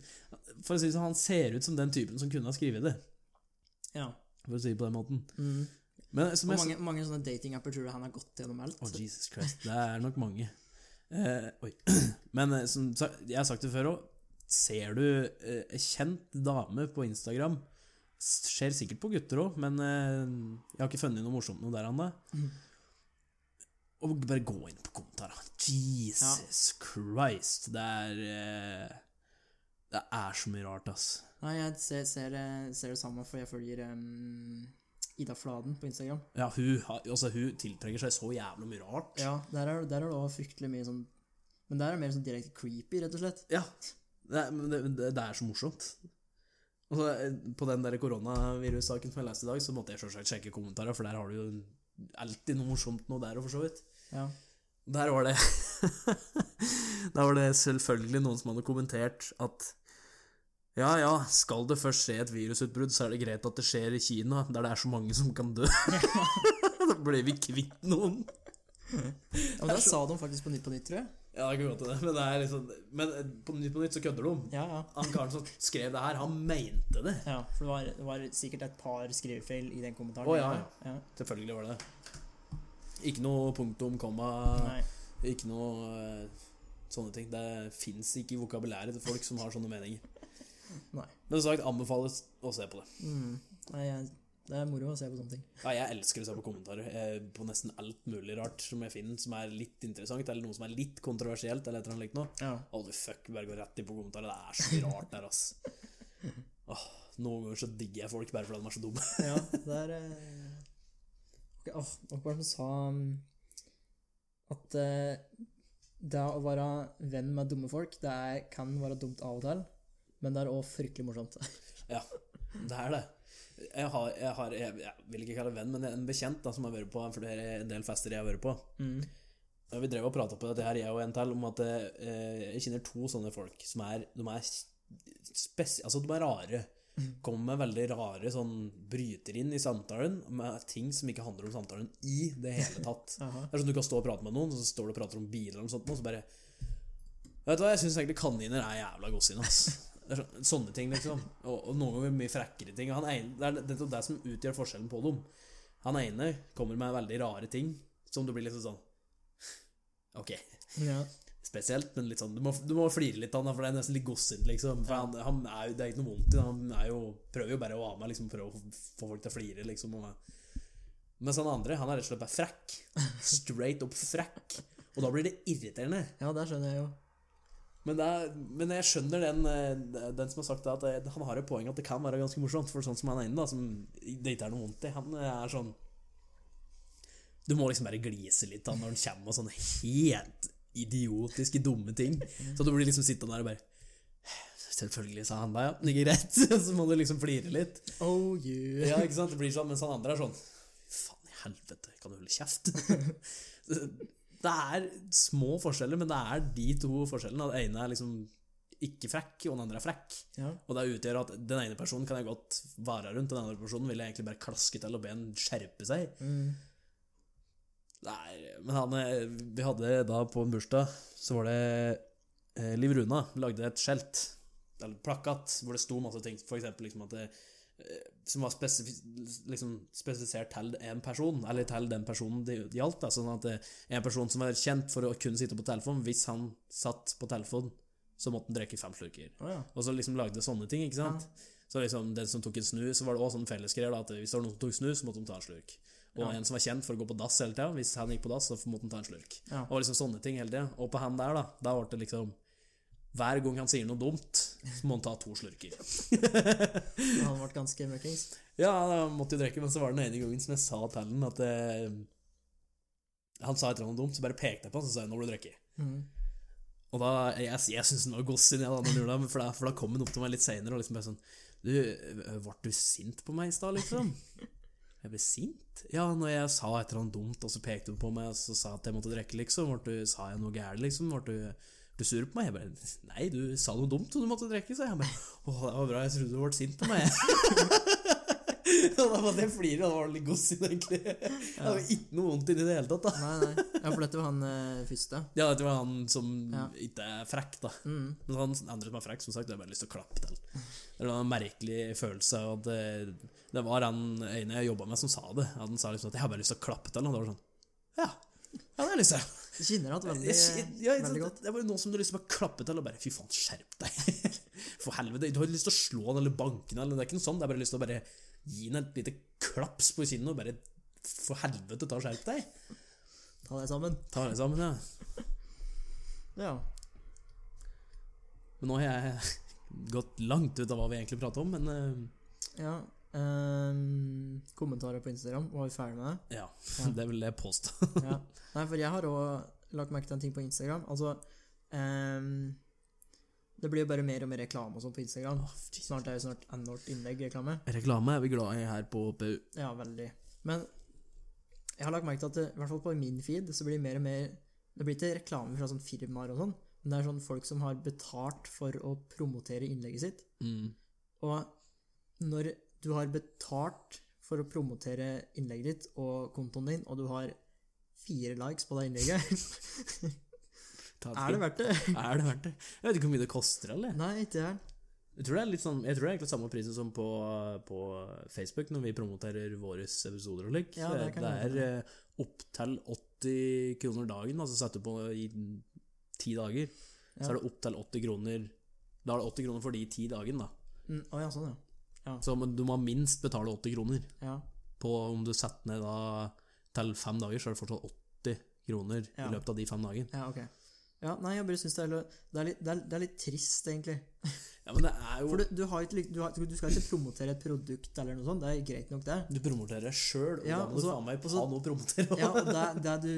Speaker 1: For å si det sånn, han ser ut som den typen som kunne ha skrevet det.
Speaker 2: ja.
Speaker 1: For å si det på den måten.
Speaker 2: Mhm.
Speaker 1: Men som
Speaker 2: Hvor
Speaker 1: jeg
Speaker 2: mange, mange sånne datingapper tror du han har gått gjennom alt?
Speaker 1: Å, Jesus Christ. Det er nok mange. Eh, oi. [clears throat] Men eh, som sagt, jeg har sagt det før òg, ser du eh, en kjent dame på Instagram s- Skjer sikkert på gutter òg, men eh, jeg har ikke funnet noe morsomt noe der ennå. Og bare gå inn på kommentarene. Jesus Christ. Det er eh, Det er så mye rart, ass.
Speaker 2: Nei, jeg ser, ser, det- ser det samme, for jeg følger em, Ida Fladen på Instagram.
Speaker 1: Ja, hun, har- altså, hun tiltrekker seg så jævlig mye rart.
Speaker 2: Ja, der er, der er det også fryktelig mye sånn Men der er det mer sånn direkte creepy, rett og slett.
Speaker 1: Ja. Det, er- men det, det, det er så morsomt. Og så, eh, på den der koronavirussaken som jeg leste i dag, så måtte jeg selvsagt sjekke kommentarer, for der har du jo alltid noe morsomt noe der og for så vidt.
Speaker 2: Ja.
Speaker 1: Der var det [laughs] Der var det selvfølgelig noen som hadde kommentert at ja, ja, skal det først skje et virusutbrudd, så er det greit at det skjer i Kina, der det er så mange som kan dø. [laughs] da blir vi kvitt noen.
Speaker 2: ja men der sa de faktisk på Nytt på Nytt, tror jeg.
Speaker 1: Ja, det kan godt hende, men det er liksom Men på Nytt på Nytt så kødder de.
Speaker 2: Ja, ja.
Speaker 1: Han karen som skrev det her, han mente det.
Speaker 2: ja for det var, det var sikkert et par skrivefeil i den kommentaren.
Speaker 1: Å, ja.
Speaker 2: ja.
Speaker 1: Selvfølgelig var det det. Ikke noe punktum, komma,
Speaker 2: Nei.
Speaker 1: ikke noe eh, sånne ting. Det fins ikke i vokabulæret til folk som har sånne meninger.
Speaker 2: Nei.
Speaker 1: Men som sagt, anbefales å se på det.
Speaker 2: Mm. Nei jeg, det er moro å se på sånne ting.
Speaker 1: Ja, jeg elsker å se på kommentarer eh, på nesten alt mulig rart som jeg finner som er litt interessant, eller noe som er litt kontroversielt, eller et eller annet likt noe.
Speaker 2: Ja.
Speaker 1: Å, du fuck, bare gå rett inn på kommentarer. Det er så mye rart der, ass. [laughs] Åh, noen ganger så digger jeg folk bare fordi de er så dumme.
Speaker 2: ja det er eh, Ok, åh, Hva var det som sa mm, at eh, det å være venn med dumme folk, det er, kan være dumt av og til, men det er òg fryktelig [laughs] morsomt.
Speaker 1: Ja, det er det. Jeg har, jeg har jeg, jeg vil ikke kalle det venn, men en bekjent da, som har vært på en flere- en del fester jeg har vært på.
Speaker 2: Mm.
Speaker 1: Og Vi drev og prata på dette her, jeg og en til, om at eh, jeg kjenner to sånne folk som er De er, spes altså, de er rare. Kommer med veldig rare sånn Bryter inn i samtalen med ting som ikke handler om samtalen i det hele tatt.
Speaker 2: Aha.
Speaker 1: Det er sånn Du kan stå og prate med noen, så står du og prater om biler eller noe sånt, og så bare Vet du hva, jeg syns egentlig kaniner er jævla godsinn, ass. [laughs] Det er så- Sånne ting, liksom. Og, og noen ganger mye frekkere ting. Og Han ene, det er det, det er det som utgjør forskjellen på dem. Han ene kommer med veldig rare ting, som du blir liksom sånn Ok.
Speaker 2: Ja.
Speaker 1: Spesielt, men litt sånn Du må, du må flire litt av han, da, for det er nesten litt godsint, liksom. For han, han er jo, Det er ikke noe vondt i det. Han er jo, prøver jo bare å ha med, liksom, prøve å få- få folk til å flire, liksom. Og, mens han andre, han er rett og slett bare frekk. Straight up frekk. Og da blir det irriterende.
Speaker 2: ja, det skjønner jeg jo.
Speaker 1: Men, det er, men jeg skjønner den, eh, den som har sagt det, at eh, han har et poeng at det kan være ganske morsomt. For sånn som han ene, da, som det ikke er noe vondt i, han er sånn Du må liksom bare glise litt da, når han kommer med sånne helt idiotiske, dumme ting. Så du blir liksom sittende der og bare Selvfølgelig sa han det, ja. Det er greit. [laughs] Så må du liksom flire litt.
Speaker 2: Oh you.
Speaker 1: [laughs] Ja, ikke sant? Det blir sånn, mens han andre er sånn Faen i helvete, kan du holde kjeft? [laughs] det er små forskjeller, men det er de to forskjellene. At den ene er liksom ikke frekk, og den andre er frekk.
Speaker 2: Ja.
Speaker 1: Og det utgjør at den ene personen kan jeg godt vare rundt, den andre personen vil jeg egentlig bare klaske til og be han skjerpe seg.
Speaker 2: Mm.
Speaker 1: Nei, men han eh, Vi hadde da på en bursdag, så var det eh, Liv Runa lagde et skjelt, eller plakat, hvor det sto masse ting, for eksempel liksom at det, eh, som var spesif liksom spesifisert til en person, eller til den personen det gjaldt. Da, sånn at det, en person som var kjent for å kunne sitte på telefon, hvis han satt på telefon, så måtte han drikke fem slurker.
Speaker 2: Å ja.
Speaker 1: Og så liksom lagde sånne ting, ikke sant? Så liksom den som tok en snus, så var det også sånn fellesgreier da, at hvis det var noen som tok snus, så måtte de ta en slurk. Og
Speaker 2: Ja.
Speaker 1: en som var kjent for å gå på dass hele tida, hvis han gikk på dass, så måtte han ta en slurk.
Speaker 2: Ja.
Speaker 1: Og liksom sånne ting hele tida. Og på han der, da, da ble det liksom Hver gang han sier noe dumt, så må han ta to slurker.
Speaker 2: Men han ble ganske møkkings. [laughs]
Speaker 1: Ja, han måtte jo drikke, men så var det den ene gangen som jeg sa til han at eh, Han sa et eller annet dumt, så bare pekte jeg på han, så sa jeg 'nå må du drikke'.
Speaker 2: Mhm.
Speaker 1: Og da, jeg, jeg syns han var gossen, jeg, da, når han gjorde det, men for da, for da kom han opp til meg litt seinere og liksom bare sånn Du, øh, ble du sint på meg i stad, liksom? Jeg ble sint? Ja, når jeg sa et eller annet dumt, og så pekte hun på meg og så sa at jeg måtte drikke, liksom. Ble du, sa jeg noe gærent, liksom? Ble du, ble du sur på meg? Jeg bare Nei, du sa noe dumt, og du måtte drikke, sa jeg. Han bare Å, det var bra, jeg trodde du ble sint på meg. og da måtte jeg flire, og da var det litt gossen, egentlig. Det var ikke noe vondt inni det hele tatt, da.
Speaker 2: Nei, nei. Ja, for dette var han eh, første.
Speaker 1: Ja, det var han som
Speaker 2: Ja.
Speaker 1: ikke er frekk, da.
Speaker 2: Mm.
Speaker 1: Men han andre som er frekk, som sagt, det har jeg bare lyst til å klappe til. Det var en merkelig følelse av at det, det var han ene jeg jobba med, som sa det. At han sa liksom at 'jeg har bare lyst til å klappe til'. Og det var sånn Ja, ja det har jeg lyst til.
Speaker 2: Jeg kjenner at veldig,
Speaker 1: Jeg, jeg, ja, ikke
Speaker 2: veldig
Speaker 1: sant?
Speaker 2: godt.
Speaker 1: det er bare noe som du har lyst til å bare klappe til, og bare 'fy faen, skjerp deg'. [laughs] For helvete. Du har ikke lyst til å slå han eller banke han, eller det er ikke noe sånt. Det er bare lyst til å bare gi han et lite klaps på kinnet og bare 'for helvete, ta og skjerp deg'.
Speaker 2: Ta deg sammen.
Speaker 1: Ta deg sammen, ja.
Speaker 2: Ja.
Speaker 1: Men nå har jeg [laughs] gått langt ut av hva vi egentlig prater om, men eh,
Speaker 2: ja. ehm, kommentarer på Instagram. Var vi ferdig med det?
Speaker 1: ja.
Speaker 2: Ja.
Speaker 1: [laughs] Det vil jeg påstå.
Speaker 2: ja. Nei, for jeg har òg lagt merke til en ting på Instagram. Altså ehm, Det blir jo bare mer og mer reklame og sånn på Instagram.
Speaker 1: Åh, Jesus.
Speaker 2: Snart er jo snart ennårt innlegg-reklame.
Speaker 1: [laughs] Reklame er vi glad i her på PU.
Speaker 2: Ja, veldig. Men jeg har lagt merke til at det, i hvert fall på min feed så blir det mer og mer Det blir ikke reklame fra sånn firmaer og sånn, men det er sånn folk som har betalt for å promotere innlegget sitt.
Speaker 1: Mm.
Speaker 2: Og når du har betalt for å promotere innlegget ditt og kontoen din, og du har fire likes på det innlegget, [laughs]
Speaker 1: Ta
Speaker 2: er det verdt det?
Speaker 1: Er det verdt det? Jeg vet ikke hvor mye det koster, eller?
Speaker 2: Nei, ikke jeg.
Speaker 1: Jeg tror det er litt sånn, jeg tror det er egentlig samme prisen som på, på Facebook når vi promoterer våre episoder og lik.
Speaker 2: Ja, det kan jeg
Speaker 1: er eh, opptil 80 kroner dagen, altså setter du på i ti dager, så
Speaker 2: Ja.
Speaker 1: er det opptil 80 kroner Da er det 80 kroner for de ti dagene, da.
Speaker 2: Mm, Å ja, sånn, ja.
Speaker 1: Så men du må minst betale 80 kroner.
Speaker 2: ja.
Speaker 1: på om du setter ned da til fem dager, så er det fortsatt 80 kroner
Speaker 2: Ja.
Speaker 1: i løpet av de fem dagene.
Speaker 2: Ja, ok. Ja, nei, jeg bare syns det er, litt- det, er litt, det, er, det er litt trist, egentlig.
Speaker 1: Ja, men det er jo
Speaker 2: For
Speaker 1: Du,
Speaker 2: du, du, har ikke, lik- du, har, du skal ikke promotere et produkt eller noe sånt, det er greit nok, det. [laughs]
Speaker 1: promoterer deg sjøl, og
Speaker 2: Ja,
Speaker 1: da må du
Speaker 2: og så-
Speaker 1: faen meg
Speaker 2: og
Speaker 1: på sånn-
Speaker 2: så-
Speaker 1: noe å promotere.
Speaker 2: Ja, og det, det, du,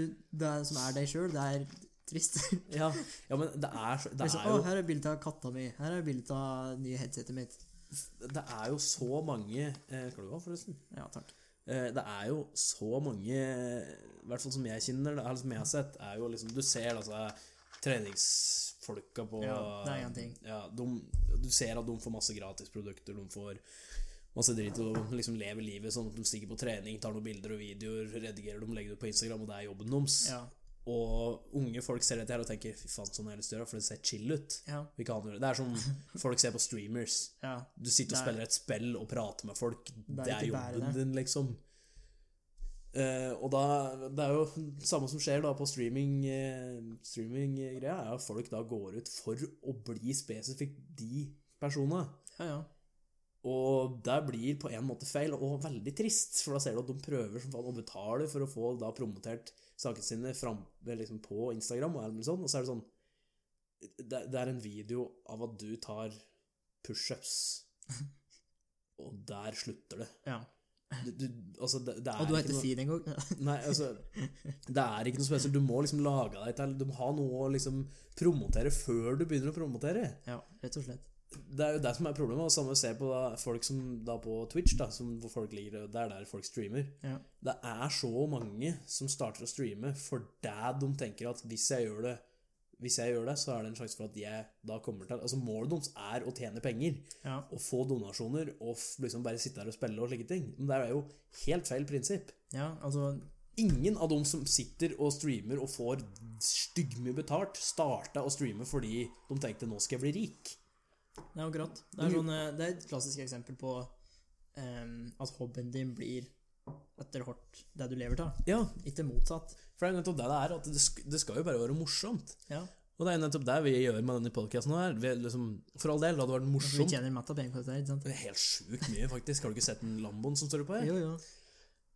Speaker 2: det som er deg sjøl, det er trist. [laughs]
Speaker 1: Ja, [laughs] ja, men det er, så- det,
Speaker 2: Liksom,
Speaker 1: er
Speaker 2: å,
Speaker 1: jo,
Speaker 2: her er bildet av katta mi. Her er bildet av nye headsetet mitt.
Speaker 1: det er jo så mange eh, Skal du ha, forresten?
Speaker 2: Ja, takk.
Speaker 1: Eh, Det er jo så mange, i hvert fall som jeg kjenner, eller som jeg har sett, er jo liksom Du ser altså treningsfolka på
Speaker 2: Ja, det er en ting.
Speaker 1: Ja, de, du ser at de får masse gratisprodukter, de får masse drit og liksom lever livet sånn at de stikker på trening, tar noen bilder og videoer, redigerer dem, legger det ut på Instagram, og det er jobben deres.
Speaker 2: Ja.
Speaker 1: Og unge folk ser dette her og tenker 'fy faen, sånn har jeg lyst til å gjøre', for det ser chill ut.
Speaker 2: Ja.
Speaker 1: Vi kan gjøre det. det er som folk ser på streamers.
Speaker 2: ja.
Speaker 1: Du sitter og
Speaker 2: Det er-
Speaker 1: spiller et spill og prater med folk. Det er,
Speaker 2: ikke bare
Speaker 1: jobben
Speaker 2: det.
Speaker 1: din, liksom. Eh, og da Det er jo det samme som skjer da på streaming eh, streaminggreia, er at folk da går ut for å bli spesifikt de personene.
Speaker 2: Ja, ja.
Speaker 1: Og det blir på en måte feil, og veldig trist, for da ser du at de prøver som faen å betale for å få da promotert sakene sine fram, eller liksom på Instagram, og, eller sånn, og så er det sånn det, det er en video av at du tar
Speaker 2: [laughs]
Speaker 1: pushups, og der slutter det.
Speaker 2: ja.
Speaker 1: Du, du, altså, det, det er
Speaker 2: Og du
Speaker 1: ikke
Speaker 2: heter
Speaker 1: noe-
Speaker 2: Fin en gang.
Speaker 1: Nei, altså Det er ikke noe spesielt. Du må liksom lage deg til Du må ha noe å liksom promotere før du begynner å promotere
Speaker 2: Ja, rett og slett.
Speaker 1: det er jo det som er problemet. Og samme ser på da, folk som da på Twitch, da, som hvor folk ligger, og det er der folk streamer.
Speaker 2: Ja.
Speaker 1: Det er så mange som starter å streame fordi de tenker at hvis jeg gjør det, hvis jeg gjør det, så er det en sjanse for at jeg da kommer til Altså Målet deres er å tjene penger
Speaker 2: Ja.
Speaker 1: og få donasjoner og f- liksom bare sitte der og spille og slike ting. Men det er jo helt feil prinsipp.
Speaker 2: ja, altså
Speaker 1: Ingen av dem som sitter og streamer og får styggmye betalt, starta å streame fordi de tenkte 'nå skal jeg bli rik'.
Speaker 2: Det er akkurat. Det er, sånn, eh, det er et klassisk eksempel på em, at hobbyen din blir etter hvert det du lever av.
Speaker 1: Ja,
Speaker 2: Ikke motsatt.
Speaker 1: for det er nettopp det det er. At det, sk det skal jo bare være morsomt.
Speaker 2: Ja.
Speaker 1: Og det er nettopp det vi gjør med denne podkasten her. Vi, er liksom, for all del, det hadde vært
Speaker 2: Du
Speaker 1: morsomt.
Speaker 2: Altså, tjener matta penger på dette, her, ikke sant?
Speaker 1: Det er helt sjukt mye, faktisk. Har du ikke sett den Lamboen som står på her?
Speaker 2: Jo, jo.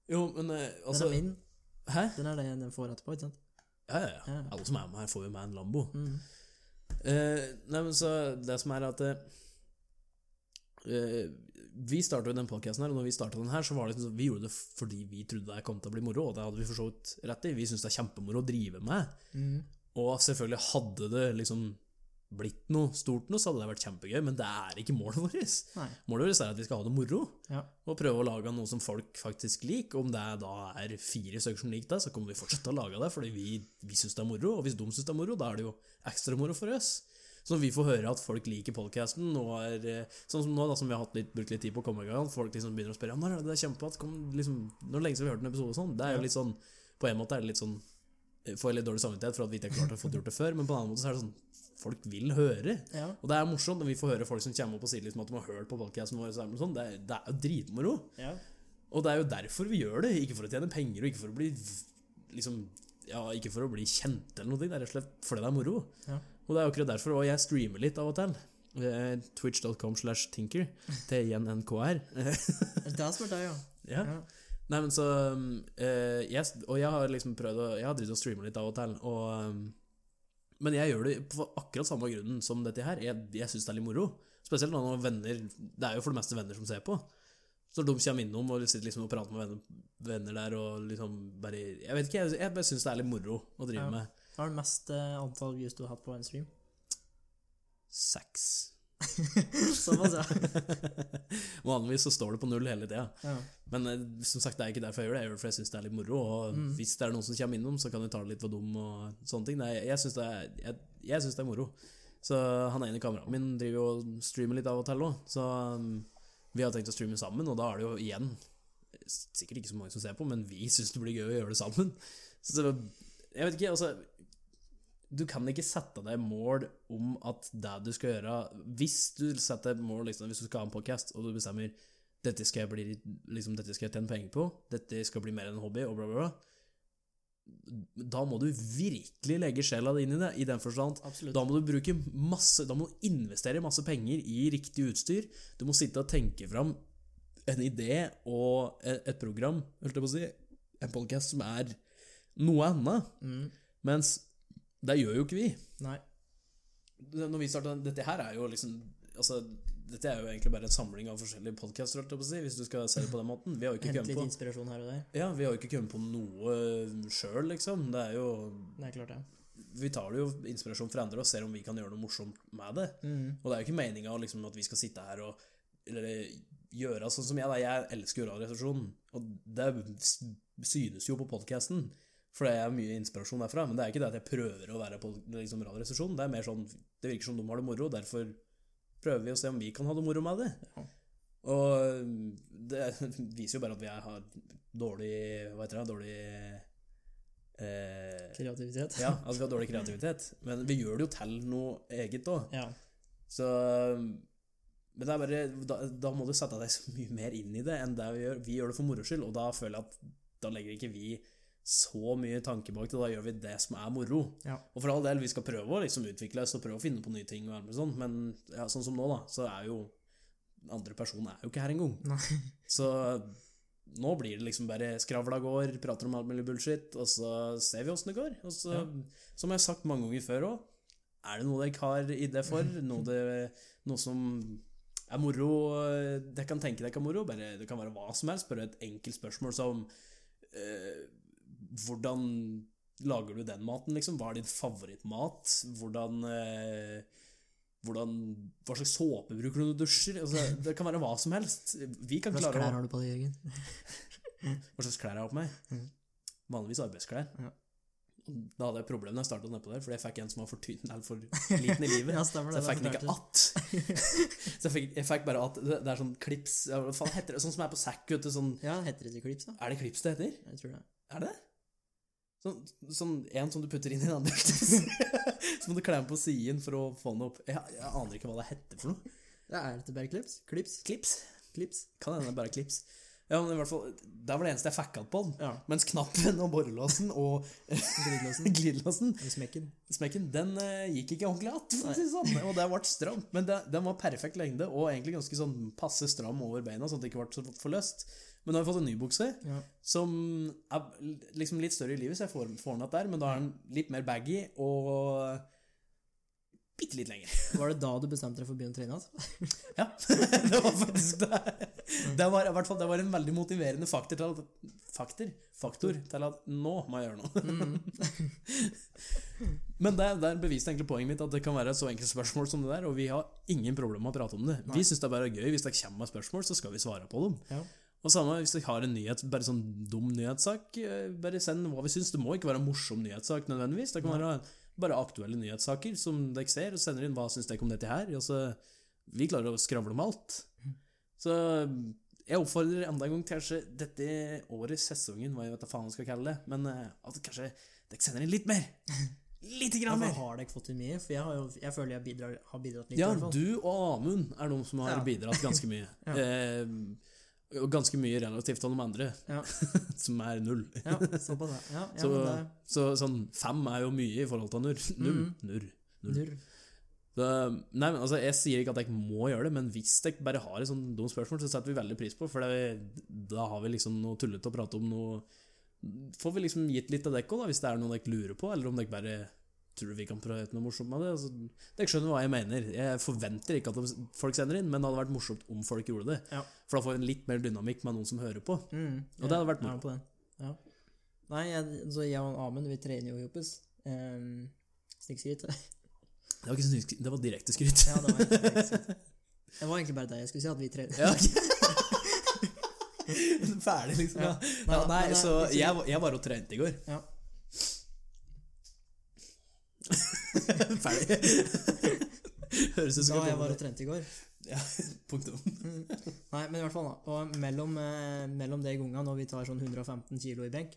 Speaker 1: Jo, men eh,
Speaker 2: Den
Speaker 1: altså
Speaker 2: er min.
Speaker 1: Hæ?
Speaker 2: Den er det den får etterpå, ikke sant?
Speaker 1: Ja, ja, ja.
Speaker 2: Ja.
Speaker 1: Alle som er med her, får jo med en Lambo.
Speaker 2: Mm.
Speaker 1: Eh, nei, men så Det som er at eh, eh, Vi starta jo den podkasten her, og når vi starta den her, så var det liksom sånn- vi gjorde det fordi vi trodde det kom til å bli moro, og det hadde vi for så vidt rett i. Vi syns det er kjempemoro å drive med.
Speaker 2: Mm.
Speaker 1: Og selvfølgelig hadde det liksom blitt noe stort nå, så hadde det vært kjempegøy, men det er ikke målet vårt.
Speaker 2: Nei.
Speaker 1: Målet vårt er at vi skal ha det moro,
Speaker 2: Ja.
Speaker 1: og prøve å lage noe som folk faktisk liker. Om det da er fire stykker som liker det, så kommer vi fortsatt til å lage det, fordi vi, vi syns det er moro, og hvis de syns det er moro, da er det jo ekstra moro for oss. Så når vi får høre at folk liker podkasten, og er eh, sånn som nå, da, som vi har hatt litt, brukt litt tid på å komme i gang, folk liksom begynner å spørre ja, når er det det er kjempehatt, kom, liksom, når er det lenge siden vi har hørt en episode og sånn, det er jo litt sånn, på en måte er det litt sånn eh, Får jeg litt dårlig samvittighet for at vi ikke har klart å få gjort det før, men på en annen måte så er det sånn Folk vil høre.
Speaker 2: Ja.
Speaker 1: Og det er morsomt når vi får høre folk som kommer opp og sier liksom at de har hørt på podkasten vår. så er det Sånn. Det, er, det er jo dritmoro.
Speaker 2: ja.
Speaker 1: Og det er jo derfor vi gjør det. Ikke for å tjene penger, og ikke for å bli liksom, ja, ikke for å bli kjent eller noe. Det er rett og slett fordi det er moro.
Speaker 2: Ja.
Speaker 1: Og det er akkurat derfor. Og jeg streamer litt av og til. Eh, Twitch.com slash Tinker. T-I-N-N-K-R.
Speaker 2: Altså, Det er spurt deg, ja.
Speaker 1: ja.
Speaker 2: Ja.
Speaker 1: Nei, men så um, eh, jeg, Og jeg har liksom prøvd å Jeg har drevet og streama litt av og til, og um, Men jeg gjør det på akkurat samme grunnen som dette her. Jeg, jeg syns det er litt moro. Spesielt nå når venner Det er jo for det meste venner som ser på. Så når de kommer innom og sitter liksom og prater med venner, venner der og liksom bare Jeg vet ikke, jeg, jeg bare syns det er litt moro å drive
Speaker 2: Ja.
Speaker 1: med
Speaker 2: Hva er det mest eh, antall views du har hatt på en [laughs] stream?
Speaker 1: sex. [laughs]
Speaker 2: Såpass, ja.
Speaker 1: Vanligvis så står det på null hele tida.
Speaker 2: ja.
Speaker 1: Men eh, som sagt, det er ikke derfor jeg gjør det. Jeg gjør det fordi jeg syns det er litt moro. Og hvis det er noen som kommer innom, så kan du ta det litt for dum og sånne ting. Nei, jeg syns det, er- jeg, jeg synes det er moro. Så han ene kameraten min driver jo og streamer litt av og til òg, så um, vi har tenkt å streame sammen, og da er det jo igjen Sikkert ikke så mange som ser på, men vi syns det blir gøy å gjøre det sammen. Så jeg vet ikke, altså du kan ikke sette deg mål om at det du skal gjøre Hvis du setter deg mål, liksom, hvis du skal ha en podcast og du bestemmer dette skal jeg, bli, liksom, dette skal jeg tjene penger på, dette skal bli mer enn en hobby, og bla, bla, bla Da må du virkelig legge sjela di inn i det, i den forstand.
Speaker 2: Absolutt.
Speaker 1: Da må du bruke masse Da må du investere masse penger i riktig utstyr. Du må sitte og tenke fram en idé og e, et et program, holdt jeg på å si, en podcast som er noe annet.
Speaker 2: Mm.
Speaker 1: Mens det gjør jo ikke vi.
Speaker 2: Nei.
Speaker 1: Når vi startet, Dette her er jo liksom altså, Dette er jo egentlig bare en samling av forskjellige podkaster, si, hvis du skal se det på den måten. Vi har jo ikke
Speaker 2: Hent
Speaker 1: kommet
Speaker 2: litt
Speaker 1: på,
Speaker 2: inspirasjon her og der.
Speaker 1: ja, vi har jo ikke kommet på noe sjøl, liksom. Det er jo,
Speaker 2: Det er klart, det.
Speaker 1: vi tar det jo inspirasjon fra andre og ser om vi kan gjøre noe morsomt med det.
Speaker 2: Mm.
Speaker 1: Og det er jo ikke meninga liksom, at vi skal sitte her og eller, gjøre sånn som jeg. Da. Jeg elsker jo Radioresepsjonen, og det s- synes jo på podkasten. For det er mye inspirasjon derfra. Men det er ikke det at jeg prøver å være på liksom, Radioresepsjonen. Det er mer sånn Det virker som de har det moro, derfor prøver vi å se om vi kan ha det moro med det.
Speaker 2: Ja.
Speaker 1: Og det viser jo bare at vi er- har dårlig Hva heter det? Dårlig eh,
Speaker 2: Kreativitet.
Speaker 1: Ja, at vi har dårlig kreativitet. Men vi gjør det jo til noe eget òg.
Speaker 2: [laughs] Ja.
Speaker 1: Så um, Men det er bare da, da må du sette deg så mye mer inn i det enn det vi gjør. Vi gjør det for moro skyld, og da føler jeg at da legger ikke vi så mye tanke bak det. Da gjør vi det som er moro.
Speaker 2: Ja.
Speaker 1: Og for all del, vi skal prøve å liksom utvikle oss og prøve å finne på nye ting, og alt mulig sånt, men ja, sånn som nå, da, så er jo andre person er jo ikke her engang.
Speaker 2: Nei.
Speaker 1: Så nå blir det liksom bare skravla går, prater om alt mulig bullshit, og så ser vi åssen det går. Og så,
Speaker 2: Ja.
Speaker 1: som jeg har sagt mange ganger før òg, er det noe dere har idé
Speaker 2: [laughs]
Speaker 1: for, noe, det, noe som er moro, dere kan tenke dere er moro, bare det kan være hva som helst, bare et enkelt spørsmål som eh, Hvordan lager du den maten, liksom? Hva er din favorittmat? Hvordan eh, hvordan, hva slags såpe bruker du når du dusjer? Altså, det kan være hva som helst. Vi kan
Speaker 2: Hva
Speaker 1: klare å
Speaker 2: slags klær har du på deg, Jørgen?
Speaker 1: hva slags klær jeg har på meg.
Speaker 2: Mhm.
Speaker 1: Vanligvis arbeidsklær.
Speaker 2: Ja.
Speaker 1: Da hadde jeg problemer da jeg starta nedpå der, fordi jeg fikk en som var for tynn
Speaker 2: [laughs]
Speaker 1: eller for liten i livet.
Speaker 2: [laughs] Ja, stemmer
Speaker 1: Så jeg
Speaker 2: det. det
Speaker 1: fikk den ikke
Speaker 2: fortalte [laughs] du.
Speaker 1: att. Så jeg fikk, jeg fikk bare att. Det det er sånn klips ja, Hva faen heter det? Sånn som er på sekk, vet du. Sånn
Speaker 2: Ja, heter det ikke klips, da?
Speaker 1: Er det klips det heter?
Speaker 2: Jeg tror det.
Speaker 1: Er det det? Sånn, sånn en som du putter inn i en annen drakt. [laughs] så må du klemme på siden for å få den opp. Jeg, jeg aner ikke hva det heter for noe.
Speaker 2: Ja, er dette bare klips? [laughs] Klips?
Speaker 1: Klips?
Speaker 2: Klips?
Speaker 1: Kan hende det er bare klips. Ja, men i hvert fall, Det var det eneste jeg fucka på den.
Speaker 2: Ja.
Speaker 1: Mens knappen og borrelåsen og
Speaker 2: Glidelåsen.
Speaker 1: [laughs] glidelåsen
Speaker 2: Og smekken.
Speaker 1: Smekken den eh, gikk ikke ordentlig att, for å si det sånn. Og det ble stramt. Men det, den var perfekt lengde, og egentlig ganske sånn passe stram over beina, sånn at det ikke ble så for løst. Men nå har jeg fått en ny bukse,
Speaker 2: Ja.
Speaker 1: som er l- liksom litt større i livet, så jeg får, får den att der, men da er den litt mer baggy og bitte litt lenger.
Speaker 2: Var det da du bestemte deg for å begynne å trene? Altså?
Speaker 1: Ja, [laughs] det var faktisk det. Det var, i hvert fall, det var en veldig motiverende faktor til at, faktor, faktor til at nå må jeg gjøre noe. Men der, der beviste egentlig poenget mitt at det kan være et så enkelt spørsmål som det der, og vi har ingen problemer med å prate om det.
Speaker 2: Nei.
Speaker 1: Vi syns det er bare gøy. Hvis det kommer med spørsmål, så skal vi svare på dem.
Speaker 2: Ja.
Speaker 1: Og samme hvis dere har en nyhet, bare sånn dum nyhetssak, eh, bare send hva vi syns. Det må ikke være en morsom nyhetssak nødvendigvis. Det kan være bare aktuelle nyhetssaker som dere ser, og sender inn hva syns dere om dette her. Og så vi klarer å skravle om alt. Så jeg oppfordrer enda en gang til kanskje dette året, sesongen, hva jeg vet da faen jeg skal kalle det, men eh, at kanskje dere sender inn litt mer. Lite
Speaker 2: Ja,
Speaker 1: grann
Speaker 2: men
Speaker 1: mer.
Speaker 2: Altså, har dere fått til mye? For jeg, har jo, jeg føler jeg bidrar, har bidratt litt.
Speaker 1: Ja,
Speaker 2: i hvert fall.
Speaker 1: du og Amund er de som har
Speaker 2: Ja.
Speaker 1: bidratt ganske mye.
Speaker 2: [laughs] Ja.
Speaker 1: eh, og ganske mye relativt til de andre,
Speaker 2: Ja.
Speaker 1: [laughs] som er null.
Speaker 2: ja, såpass, ja. ja, ja
Speaker 1: [laughs] Så,
Speaker 2: men det, Mm.
Speaker 1: så sånn fem er jo mye i forhold til nurr. Null. Nurr. Null.
Speaker 2: Nurr.
Speaker 1: Så, nei, men altså, jeg sier ikke at dere må gjøre det, men hvis dere bare har et sånt dumt spørsmål, så setter vi veldig pris på, for det, da har vi liksom noe tullete å prate om, noe Får vi liksom gitt litt av dere òg, hvis det er noe dere lurer på, eller om dere bare tror vi kan prate noe morsomt med det. Altså, dere skjønner hva jeg mener. Jeg forventer ikke at de- folk sender inn, men det hadde vært morsomt om folk gjorde det.
Speaker 2: Ja.
Speaker 1: For da får vi en litt mer dynamikk med noen som hører på.
Speaker 2: Mm,
Speaker 1: Og det hadde vært
Speaker 2: jeg er med på den. Ja. Nei, jeg, så jeg og Amund, vi trener jo jobbes. Um,
Speaker 1: [laughs]
Speaker 2: Snikskritt.
Speaker 1: Det var, ikke så nytt- det var direkte skryt.
Speaker 2: Ja, det var egentlig bare snikskryt. Det var egentlig bare det jeg skulle si, at vi trener.
Speaker 1: [laughs] Ja, [laughs] Ferdig, liksom. Ja.
Speaker 2: [laughs] Nei,
Speaker 1: Ja, nei,
Speaker 2: men det-
Speaker 1: så
Speaker 2: liksom-
Speaker 1: jeg, var- jeg var og trente i går.
Speaker 2: Ja.
Speaker 1: [laughs]
Speaker 2: [laughs]
Speaker 1: Ferdig. Høres ut
Speaker 2: Da
Speaker 1: som
Speaker 2: jeg var
Speaker 1: et
Speaker 2: og trente i går.
Speaker 1: punktum.
Speaker 2: Nei, men i hvert fall da. Og mellom, eh, mellom de gangene når vi tar sånn 115 kilo i benk,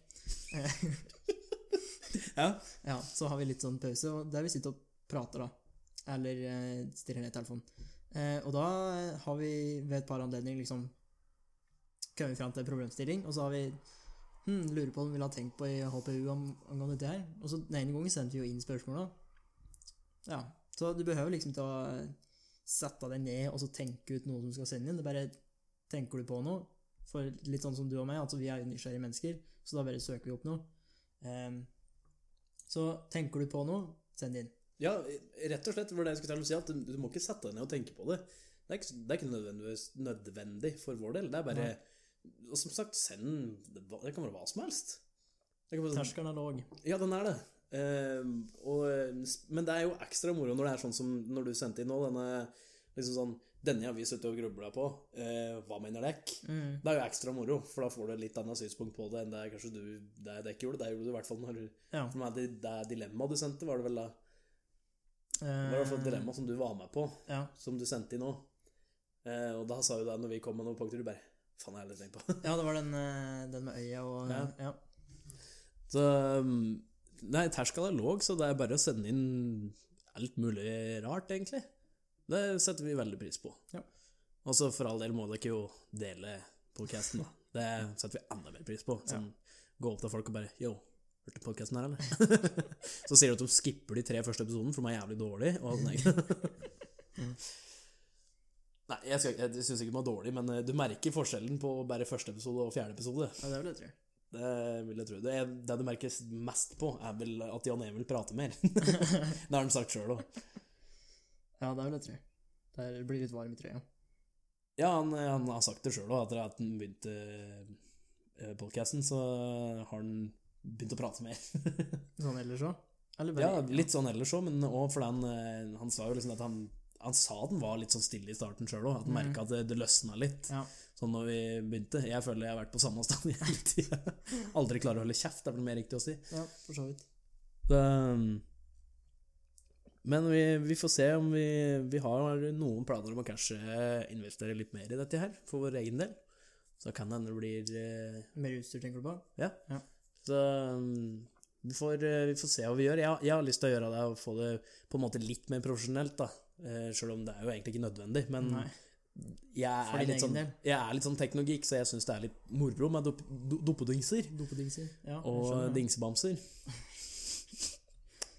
Speaker 2: eh, [laughs]
Speaker 1: Ja.
Speaker 2: ja, så har vi litt sånn pause, og der vi sitter og prater da. Eller eh, stirrer ned i telefonen. Eh, og da har vi ved et par anledninger liksom kommet fram til en problemstilling, og så har vi hm, lurer på om vi ville ha tenkt på i HPU om, angående dette her. Og så den ene gangen sendte vi jo inn spørsmål da. Ja, så du behøver liksom ikke å sette deg ned og så tenke ut noe som skal sende inn. Det bare tenker du på noe. For litt sånn som du og meg, altså vi er jo nysgjerrige mennesker, så da bare søker vi opp noe. Ehm, så tenker du på noe, send det inn.
Speaker 1: ja, rett og slett var det jeg skulle til å si, at du, du må ikke sette deg ned og tenke på det. Det er ikke, det er ikke nødvendigvis nødvendig for vår del. Det er bare Og som sagt, send Det det kan være hva som helst. Det kan være, sånn
Speaker 2: Terskelen er låg.
Speaker 1: Ja, den er det. Ehm, og, men det er jo ekstra moro når det er sånn som når du sendte inn nå, denne liksom sånn Denne har vi sittet og grubla på. Eh, hva mener dekk? Det er jo ekstra moro, for da får du et litt annet synspunkt på det enn det er kanskje du det er dekk gjorde. Det gjorde du i hvert fall når du
Speaker 2: Ja. Ehm,
Speaker 1: For meg, det, det er dilemmaet du sendte, var det vel da? Det var i hvert fall et
Speaker 2: Eh,
Speaker 1: dilemma som du var med på,
Speaker 2: ja.
Speaker 1: som du sendte inn nå. Eh, og da sa jo det når vi kom med noen punkter, du bare Faen, jeg har aldri tenkt på [laughs]
Speaker 2: ja, det var den, eh, den med øya og ja.
Speaker 1: Ja. Så um, Nei, terskelen er låg, så det er bare å sende inn alt mulig rart, egentlig. Det setter vi veldig pris på.
Speaker 2: Ja.
Speaker 1: Og så for all del må dere jo dele podkasten, da. Det setter vi enda mer pris på. Sånn, Gå opp til folk og bare Yo, hørte du podkasten her, eller? [laughs] så sier du at de skipper de tre første episodene, for de er jævlig dårlige. Og nei. Nei, jeg, skal- jeg syns ikke de er dårlige, men eh, du merker forskjellen på bare første episode og fjerde episode.
Speaker 2: ja, det vil jeg tro.
Speaker 1: Det vil jeg tro. Det, er, det du merker mest på, er vel at Jan Emil prater mer. [laughs] det har han sagt sjøl òg.
Speaker 2: Ja, det vil jeg tro. Der blir litt varm i trøya.
Speaker 1: Ja, han, han har sagt det sjøl òg. Etter at han begynte podkasten, så har han begynt å prate mer.
Speaker 2: Sånn ellers òg? Eller
Speaker 1: ja,
Speaker 2: bare
Speaker 1: Litt sånn ellers òg, men òg fordi han, eh, han sa jo liksom at han han sa den var litt sånn stille i starten sjøl òg, at han merka at det, det løsna litt.
Speaker 2: Ja.
Speaker 1: Sånn når vi begynte. Jeg føler jeg har vært på samme stand hele tida. [laughs] Aldri klarer å holde kjeft, er vel mer riktig å si.
Speaker 2: ja, for så vidt.
Speaker 1: Så, um, men vi, vi får se om vi, vi har noen planer om å kanskje investere litt mer i dette her, for vår egen del. Så kan det hende det blir eh,
Speaker 2: Mer utstyr, tenker du på?
Speaker 1: Ja.
Speaker 2: Ja.
Speaker 1: Så um, Vi får, eh, vi får se hva vi gjør. Jeg, har- jeg har lyst til å gjøre det og få det på en måte litt mer profesjonelt, da. Sjøl om det er jo egentlig ikke nødvendig. Men
Speaker 2: Nei.
Speaker 1: jeg,
Speaker 2: For
Speaker 1: er
Speaker 2: din
Speaker 1: litt
Speaker 2: egen
Speaker 1: sånn,
Speaker 2: del.
Speaker 1: jeg er litt sånn teknogeek, så jeg syns det er litt moro med dop, do, dopedingser
Speaker 2: Dopedingser. Ja, jeg
Speaker 1: og
Speaker 2: skjønner det.
Speaker 1: dingsebamser.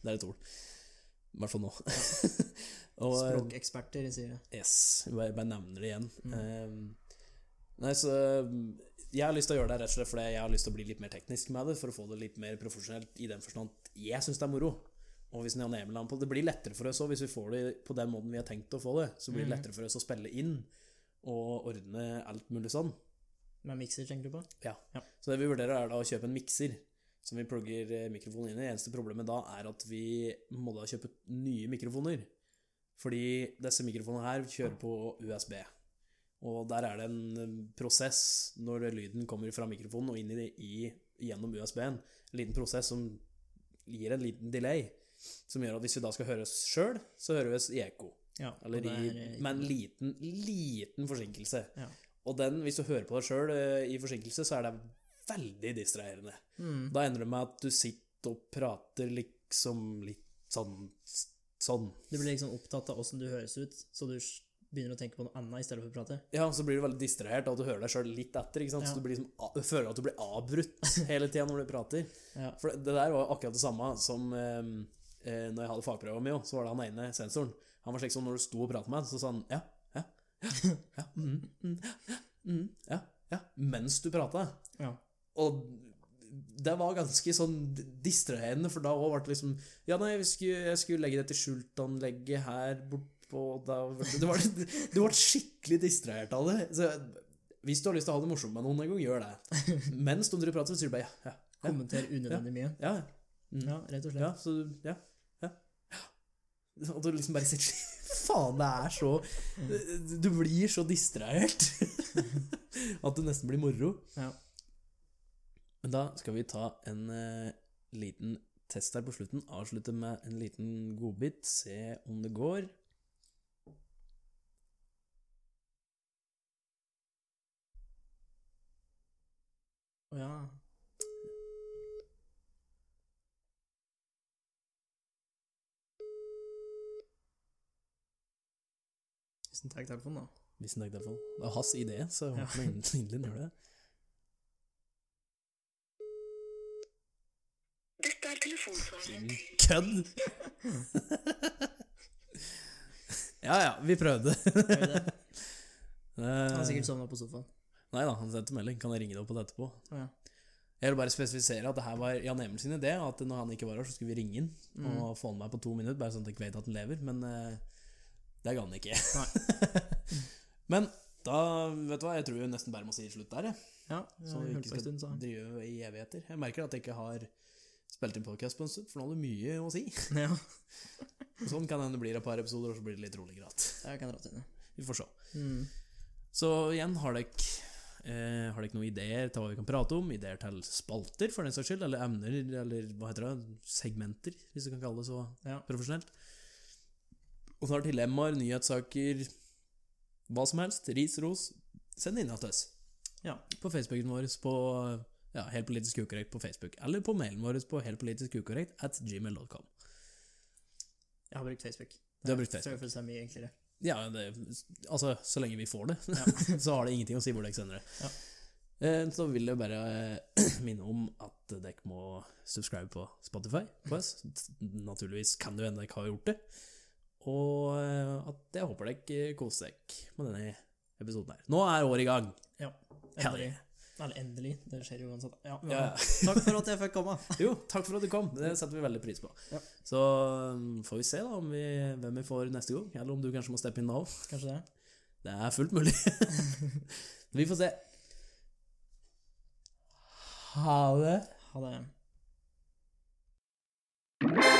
Speaker 1: Det er et ord. I hvert fall nå. og, eh,
Speaker 2: Språkeksperter, sier jeg.
Speaker 1: Yes, jeg bare bare nevner det igjen.
Speaker 2: Mm.
Speaker 1: Eh, nei, så jeg har lyst til å gjøre det rett og slett fordi jeg har lyst til å bli litt mer teknisk med det, for å få det litt mer profesjonelt i den forstand at jeg syns det er moro. Og hvis Jan Emil er med på det, det blir lettere for oss òg, hvis vi får det på den måten vi har tenkt å få det. Så blir det
Speaker 2: Mhm.
Speaker 1: lettere for oss å spille inn og ordne alt mulig sånn.
Speaker 2: Med mikser, tenker du på?
Speaker 1: Ja.
Speaker 2: Ja.
Speaker 1: Så det vi vurderer er da å kjøpe en mikser som vi plugger eh, mikrofonen inn i. Eneste problemet da er at vi må da kjøpe nye mikrofoner. Fordi disse mikrofonene her kjører på USB. Og der er det en eh, prosess når lyden kommer fra mikrofonen og inn i, det- i gjennom USB-en. En liten prosess som gir en liten delay. Som gjør at hvis vi da skal høre oss sjøl, så hører vi oss i ekko.
Speaker 2: Ja. og
Speaker 1: Eller
Speaker 2: det
Speaker 1: i,
Speaker 2: er, eh,
Speaker 1: med en liten, liten forsinkelse.
Speaker 2: Ja.
Speaker 1: Og den, hvis du hører på deg sjøl i forsinkelse, så er det veldig distraherende.
Speaker 2: Mm.
Speaker 1: Da ender det med at du sitter og prater liksom litt sånn Sånn.
Speaker 2: Du blir liksom opptatt av åssen du høres ut, så du s- begynner å tenke på noe annet i stedet for å prate.
Speaker 1: Ja, så blir du veldig distrahert av at du hører deg sjøl litt etter. ikke sant?
Speaker 2: Ja.
Speaker 1: Så du blir liksom, a- føler at du blir avbrutt
Speaker 2: [laughs]
Speaker 1: hele tida når du prater.
Speaker 2: Ja.
Speaker 1: For det, det der var jo akkurat det samme som eh, eh, når jeg hadde fagprøva mi, så var det han ene sensoren. Han var slik som når du sto og pratet med han, så sa han ja, ja, ja, ja, mm, mm, ja, mm, ja, ja, mens du prata.
Speaker 2: Ja.
Speaker 1: Og det var ganske sånn distraherende, for da òg ble det liksom Ja, nei, jeg skulle, jeg skulle legge det til skjultanlegget her bortpå da ble det- det var, Du ble skikkelig distrahert av det. Så hvis du har lyst til å ha det morsomt med noen en gang, gjør det. Mens de driver og prater, så sier du bare ja, ja,
Speaker 2: Kommenter unødvendig mye. Mm.
Speaker 1: ja. ja.
Speaker 2: Ja, rett og slett.
Speaker 1: Ja, så du- ja, ja, ja. Og du liksom bare sitter sånn, [laughs] Faen, det er så du- Du blir så distrahert [laughs] at det nesten blir moro.
Speaker 2: Ja.
Speaker 1: Men da skal vi ta en eh, liten test her på slutten. Avslutte med en liten godbit. Se om det går.
Speaker 2: Å ja. Hvis en tar [laughs] telefonen, da.
Speaker 1: Hvis den er derfor. Det er hans idé, så jeg
Speaker 2: Ja.
Speaker 1: [laughs] håper den endelig gjør det.
Speaker 3: Dette er telefonsvareren.
Speaker 2: [laughs]
Speaker 1: Kødd! [laughs] ja ja, vi prøvde.
Speaker 2: Gjør vi det? Han har
Speaker 1: Eh,
Speaker 2: sikkert sovna på sofaen.
Speaker 1: Nei da, han sendte melding. Kan jeg ringe deg opp på det etterpå?
Speaker 2: Å ja.
Speaker 1: Jeg vil bare spesifisere at det her var Jan Emil sin idé, at når han ikke var her, så skulle vi ringe inn
Speaker 2: Mm.
Speaker 1: og få han med på to minutter, bare sånn at jeg ikke vet at han lever, men eh, det ga han ikke. [laughs] men da, vet du hva, jeg tror vi nesten bare må si slutt der, jeg.
Speaker 2: Ja,
Speaker 1: Så
Speaker 2: vi
Speaker 1: vi
Speaker 2: hørte
Speaker 1: ikke
Speaker 2: på en
Speaker 1: skal
Speaker 2: stund, [laughs] sa han.
Speaker 1: drive i evigheter. Jeg merker at jeg ikke har spilt inn podcast på en stund, for nå har du mye å si. [laughs]
Speaker 2: Ja,
Speaker 1: Sånn kan det hende det blir et par episoder, og så blir det litt roligere igjen.
Speaker 2: jeg kan dra til det.
Speaker 1: Vi får se.
Speaker 2: Mm.
Speaker 1: Så igjen, har dere eh, har dere noen ideer til hva vi kan prate om? Ideer til spalter, for den saks skyld? Eller emner, eller hva heter det? Segmenter, hvis du kan kalle det så
Speaker 2: Ja.
Speaker 1: profesjonelt. Og så har dere dilemmaer, nyhetssaker, hva som helst. Ris, ros. Send det inn til oss.
Speaker 2: Ja.
Speaker 1: På Facebooken vår, på ja, Helt politisk ukorrekt på Facebook. Eller på mailen vår på heltpolitiskukorrekt at gmail.com.
Speaker 2: Jeg har brukt Facebook.
Speaker 1: Du har brukt
Speaker 2: Jeg tror
Speaker 1: Facebook.
Speaker 2: det føles mye enklere.
Speaker 1: Ja, det, altså, så lenge vi får det, [laughs] så har det ingenting å si hvor dere sender det.
Speaker 2: Ja.
Speaker 1: Eh, Så vil jeg bare eh, [clears throat] minne om at dere må subscribe på Spotify på oss. Naturligvis kan det jo hende dere har gjort det. Og eh, at jeg håper dere koser dere med denne episoden her. Nå er året i gang!
Speaker 2: Ja.
Speaker 1: Ja,
Speaker 2: Endelig. Eller endelig. Det skjer jo uansett. Ja,
Speaker 1: Ja.
Speaker 2: ja. Takk for at jeg fikk komme.
Speaker 1: [laughs] Jo, takk for at du kom. Det setter vi veldig pris på.
Speaker 2: Ja.
Speaker 1: Så um, får vi se da om vi, hvem vi får neste gang, eller om du kanskje må steppe inn nå.
Speaker 2: Kanskje det.
Speaker 1: Det er fullt mulig. vi får se. Ha det.
Speaker 2: Ha det.